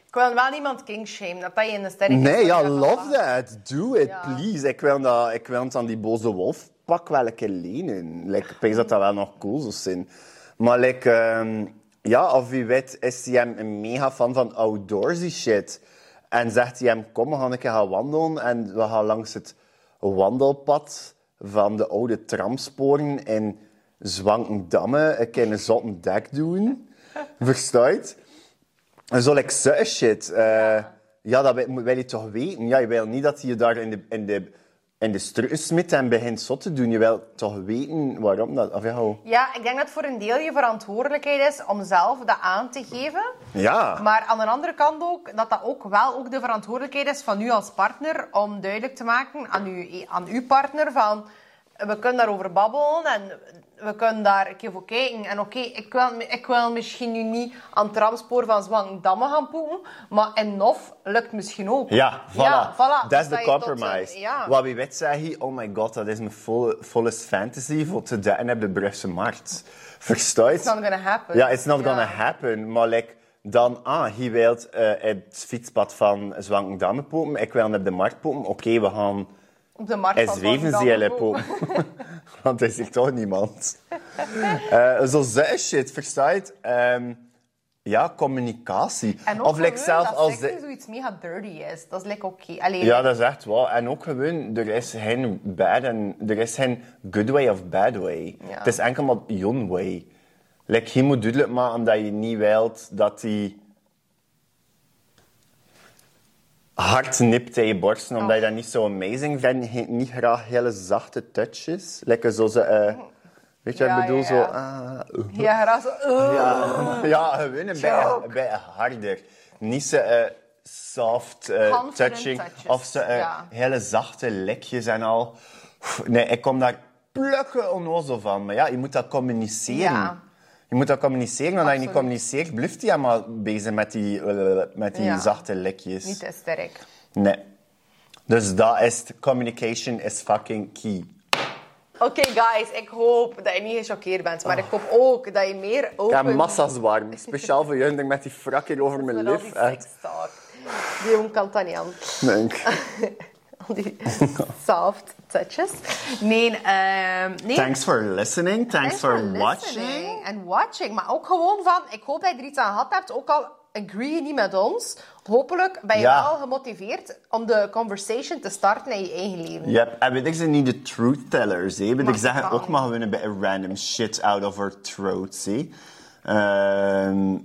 Speaker 1: Ik wil wel niemand kingshame, dat dat je in de sterren...
Speaker 2: Nee, ja, love that. Do it,
Speaker 1: Ja.
Speaker 2: please. Ik wil, dat, ik wil dan die boze wolf pak wel een keer lenen. Like, ik denk dat dat wel nog cool zou zijn. Maar like, ehm, ja, of wie weet is hij hem een mega fan van outdoorsy shit. En zegt hij hem, kom, we gaan een keer gaan wandelen. En we gaan langs het wandelpad van de oude tramsporen in zwanken dammen, ik kan een zotte dek doen. Versta je het? En zo like such shit. eh, ja, dat wil, wil je toch weten? Ja, je wil niet dat hij je daar in de, in de, in de strutten smit en begint zot te doen. Je wil toch weten waarom dat... Of ja, hoe-
Speaker 1: Ja, ik denk dat het voor een deel je verantwoordelijkheid is om zelf dat aan te geven.
Speaker 2: ja.
Speaker 1: Maar aan de andere kant ook, dat dat ook wel ook de verantwoordelijkheid is van u als partner om duidelijk te maken aan, u, aan uw partner van we kunnen daarover babbelen en we kunnen daar een keer voor kijken. En oké, ik, wil, ik wil misschien nu niet aan het tramspoor van Zwang Damme gaan poepen, maar in Nof lukt misschien ook.
Speaker 2: Ja,
Speaker 1: Ja,
Speaker 2: voilà. Dus
Speaker 1: voilà. Dus
Speaker 2: Dat eh, is
Speaker 1: Dat
Speaker 2: de
Speaker 1: je tot
Speaker 2: compromise.
Speaker 1: een- ja.
Speaker 2: Wat wie weet zei hij, oh my god, dat is mijn volle, fullest fantasy voor te dekken op de Brugse markt. Versta je?
Speaker 1: It's not gonna happen.
Speaker 2: Ja, it's not
Speaker 1: Ja.
Speaker 2: gonna happen. Maar like, dan, ah, hij wil eh, het fietspad van Zwankendamme popen. Ik wil op de markt popen. Oké, we gaan
Speaker 1: Op de markt
Speaker 2: en
Speaker 1: van
Speaker 2: zweven
Speaker 1: Zwang Damme
Speaker 2: ze jullie popen. [LAUGHS] Want hij zegt
Speaker 1: [LAUGHS]
Speaker 2: toch niemand. Eh zo zei shit, versta je? het? Ehm, ja, communicatie.
Speaker 1: En ook
Speaker 2: of like,
Speaker 1: gewoon
Speaker 2: zelf
Speaker 1: dat
Speaker 2: als
Speaker 1: seks
Speaker 2: de...
Speaker 1: nu zoiets mega dirty is. Dat is lekker oké. Allee,
Speaker 2: Ja, dat is echt waar. En ook gewoon, er is geen bad en er is geen good way of bad way.
Speaker 1: Ja.
Speaker 2: Het is enkel maar your way. Like, je moet duidelijk maken dat je niet wilt dat die hard nipt tegen je borsten, omdat je
Speaker 1: Oh.
Speaker 2: dat niet zo amazing vindt. He- Niet graag hele zachte touches. Lekker zo ze... eh, weet je wat
Speaker 1: Ja,
Speaker 2: ik bedoel?
Speaker 1: ja,
Speaker 2: Zo...
Speaker 1: ja.
Speaker 2: ah, oeh.
Speaker 1: Ja, graag zo, eh.
Speaker 2: [LAUGHS] Ja, gewoon een beetje,
Speaker 1: Joke.
Speaker 2: een beetje harder. Niet zo eh, soft eh,
Speaker 1: Confident
Speaker 2: touching.
Speaker 1: touches,
Speaker 2: Of zo eh,
Speaker 1: ja.
Speaker 2: hele zachte lekjes en al. Pff, Nee, ik kom daar plukken onnozel van. Maar ja, je moet dat communiceren.
Speaker 1: Ja.
Speaker 2: Je moet dat communiceren, want als je niet
Speaker 1: Absoluut.
Speaker 2: communiceert, blijft hij maar bezig met die, eh, met die
Speaker 1: Ja.
Speaker 2: zachte lekjes.
Speaker 1: Niet te sterk.
Speaker 2: Nee. Dus dat is, het. communication is fucking key.
Speaker 1: Oké, guys, ik hoop dat je niet gechoqueerd bent,
Speaker 2: Oh.
Speaker 1: maar ik hoop ook dat je meer
Speaker 2: Ja,
Speaker 1: open
Speaker 2: massa's
Speaker 1: [LAUGHS]
Speaker 2: warm. Speciaal voor jullie met die frak hier over mijn
Speaker 1: met al die [LAUGHS]
Speaker 2: lip. Echt,
Speaker 1: sekstalk. Die jongen kan dat niet aan.
Speaker 2: denk.
Speaker 1: [LAUGHS] Al
Speaker 2: [LAUGHS]
Speaker 1: die soft touches. Nee, ehm nee.
Speaker 2: Thanks for listening. Thanks, for, watching.
Speaker 1: En watching. Maar ook gewoon van, ik hoop dat je er iets aan gehad hebt. Ook al agree je niet met ons. Hopelijk ben je
Speaker 2: Ja.
Speaker 1: wel gemotiveerd om de conversation te starten in je eigen leven.
Speaker 2: Yep, en weet ik zijn niet de truth tellers, eh? hè? Want
Speaker 1: Maar
Speaker 2: ik zeg
Speaker 1: totaal
Speaker 2: ook maar gewoon een beetje random shit out of our throats, hè? Ehm,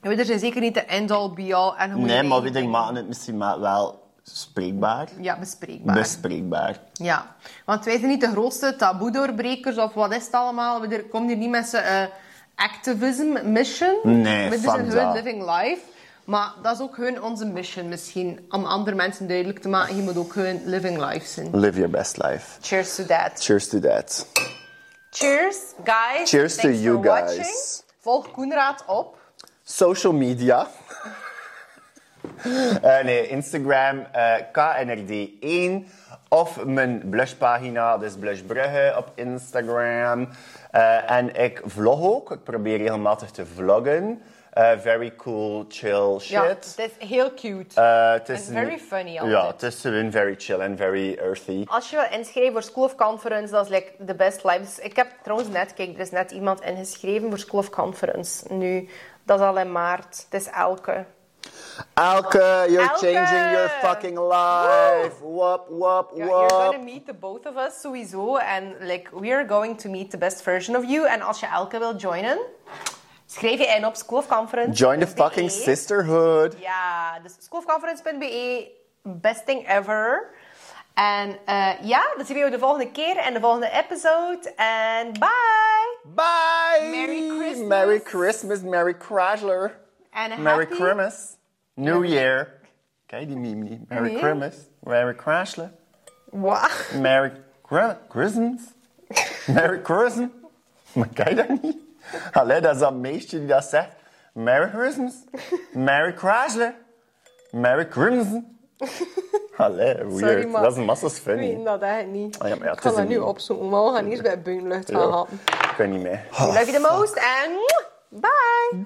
Speaker 1: We zijn zeker niet de end-all, be-all. En
Speaker 2: nee, maar weet ik maken het misschien maar wel spreekbaar,
Speaker 1: Ja, bespreekbaar.
Speaker 2: bespreekbaar.
Speaker 1: Ja, want wij zijn niet de grootste taboe-doorbrekers of wat is het allemaal. We er- komen hier niet met z'n eh, activism mission.
Speaker 2: Nee,
Speaker 1: We
Speaker 2: fuck
Speaker 1: zijn hun
Speaker 2: dat.
Speaker 1: living life. Maar dat is ook hun onze mission misschien. Om andere mensen duidelijk te maken, je moet ook hun living life zijn.
Speaker 2: Live your best life.
Speaker 1: Cheers to that.
Speaker 2: Cheers to that.
Speaker 1: Cheers, guys.
Speaker 2: Cheers to
Speaker 1: Thanks
Speaker 2: you
Speaker 1: for
Speaker 2: guys.
Speaker 1: watching. Volg Koenraad op.
Speaker 2: Social media. [LAUGHS] Eh, nee, Instagram, eh, KNRD1. Of mijn blushpagina, dus Blush Brugge op Instagram. Eh, en ik vlog ook. Ik probeer regelmatig te vloggen. Eh, very cool, chill shit.
Speaker 1: Ja, het is heel cute.
Speaker 2: Eh, het is
Speaker 1: en very funny
Speaker 2: Ja,
Speaker 1: altijd.
Speaker 2: het is gewoon very chill en very earthy.
Speaker 1: Als je wil inschrijven voor School of Conference, dat is like the best life. Dus ik heb trouwens net, kijk, er is net iemand ingeschreven voor School of Conference. Nu, dat is al in maart. Het is elke.
Speaker 2: Elke, you're
Speaker 1: Elke!
Speaker 2: changing your fucking life. Wop, wop,
Speaker 1: Ja, you're
Speaker 2: wop.
Speaker 1: gonna meet the both of us sowieso. En like, we are going to meet the best version of you. En als je elke wil joinen, schrijf je in op School of Conference.
Speaker 2: Join the
Speaker 1: .be.
Speaker 2: fucking sisterhood.
Speaker 1: Ja, dus schoolofconference.be. E, Best thing ever. En eh, ja, dan zien we je de volgende keer en de volgende episode. En bye!
Speaker 2: Bye.
Speaker 1: Merry Christmas.
Speaker 2: Merry Christmas. Merry Chrysler.
Speaker 1: And a
Speaker 2: Merry
Speaker 1: happy-
Speaker 2: Christmas. New Year. Kijk die meme niet. Merry
Speaker 1: Nee.
Speaker 2: Christmas. Merry Chrysler.
Speaker 1: Wow.
Speaker 2: Merry Gr- Christmas. Merry Christmas. [LAUGHS] Maar kijk dat niet. Allee, dat is dat meisje die dat zegt. Merry Christmas.
Speaker 1: [LAUGHS]
Speaker 2: Merry Chrysler. Merry Christmas.
Speaker 1: [LAUGHS]
Speaker 2: Allee, weird.
Speaker 1: maar
Speaker 2: dat is massa's
Speaker 1: Ik
Speaker 2: funny.
Speaker 1: weet dat eigenlijk niet.
Speaker 2: Ah ja, maar ja,
Speaker 1: ik
Speaker 2: het
Speaker 1: ga
Speaker 2: is
Speaker 1: dat
Speaker 2: een
Speaker 1: nu
Speaker 2: meme.
Speaker 1: opzoeken, maar Uh-huh. we gaan eerst bij Buenlucht gaan
Speaker 2: Ja,
Speaker 1: happen.
Speaker 2: [SIGHS] Ik weet niet meer.
Speaker 1: Love you the most en bye!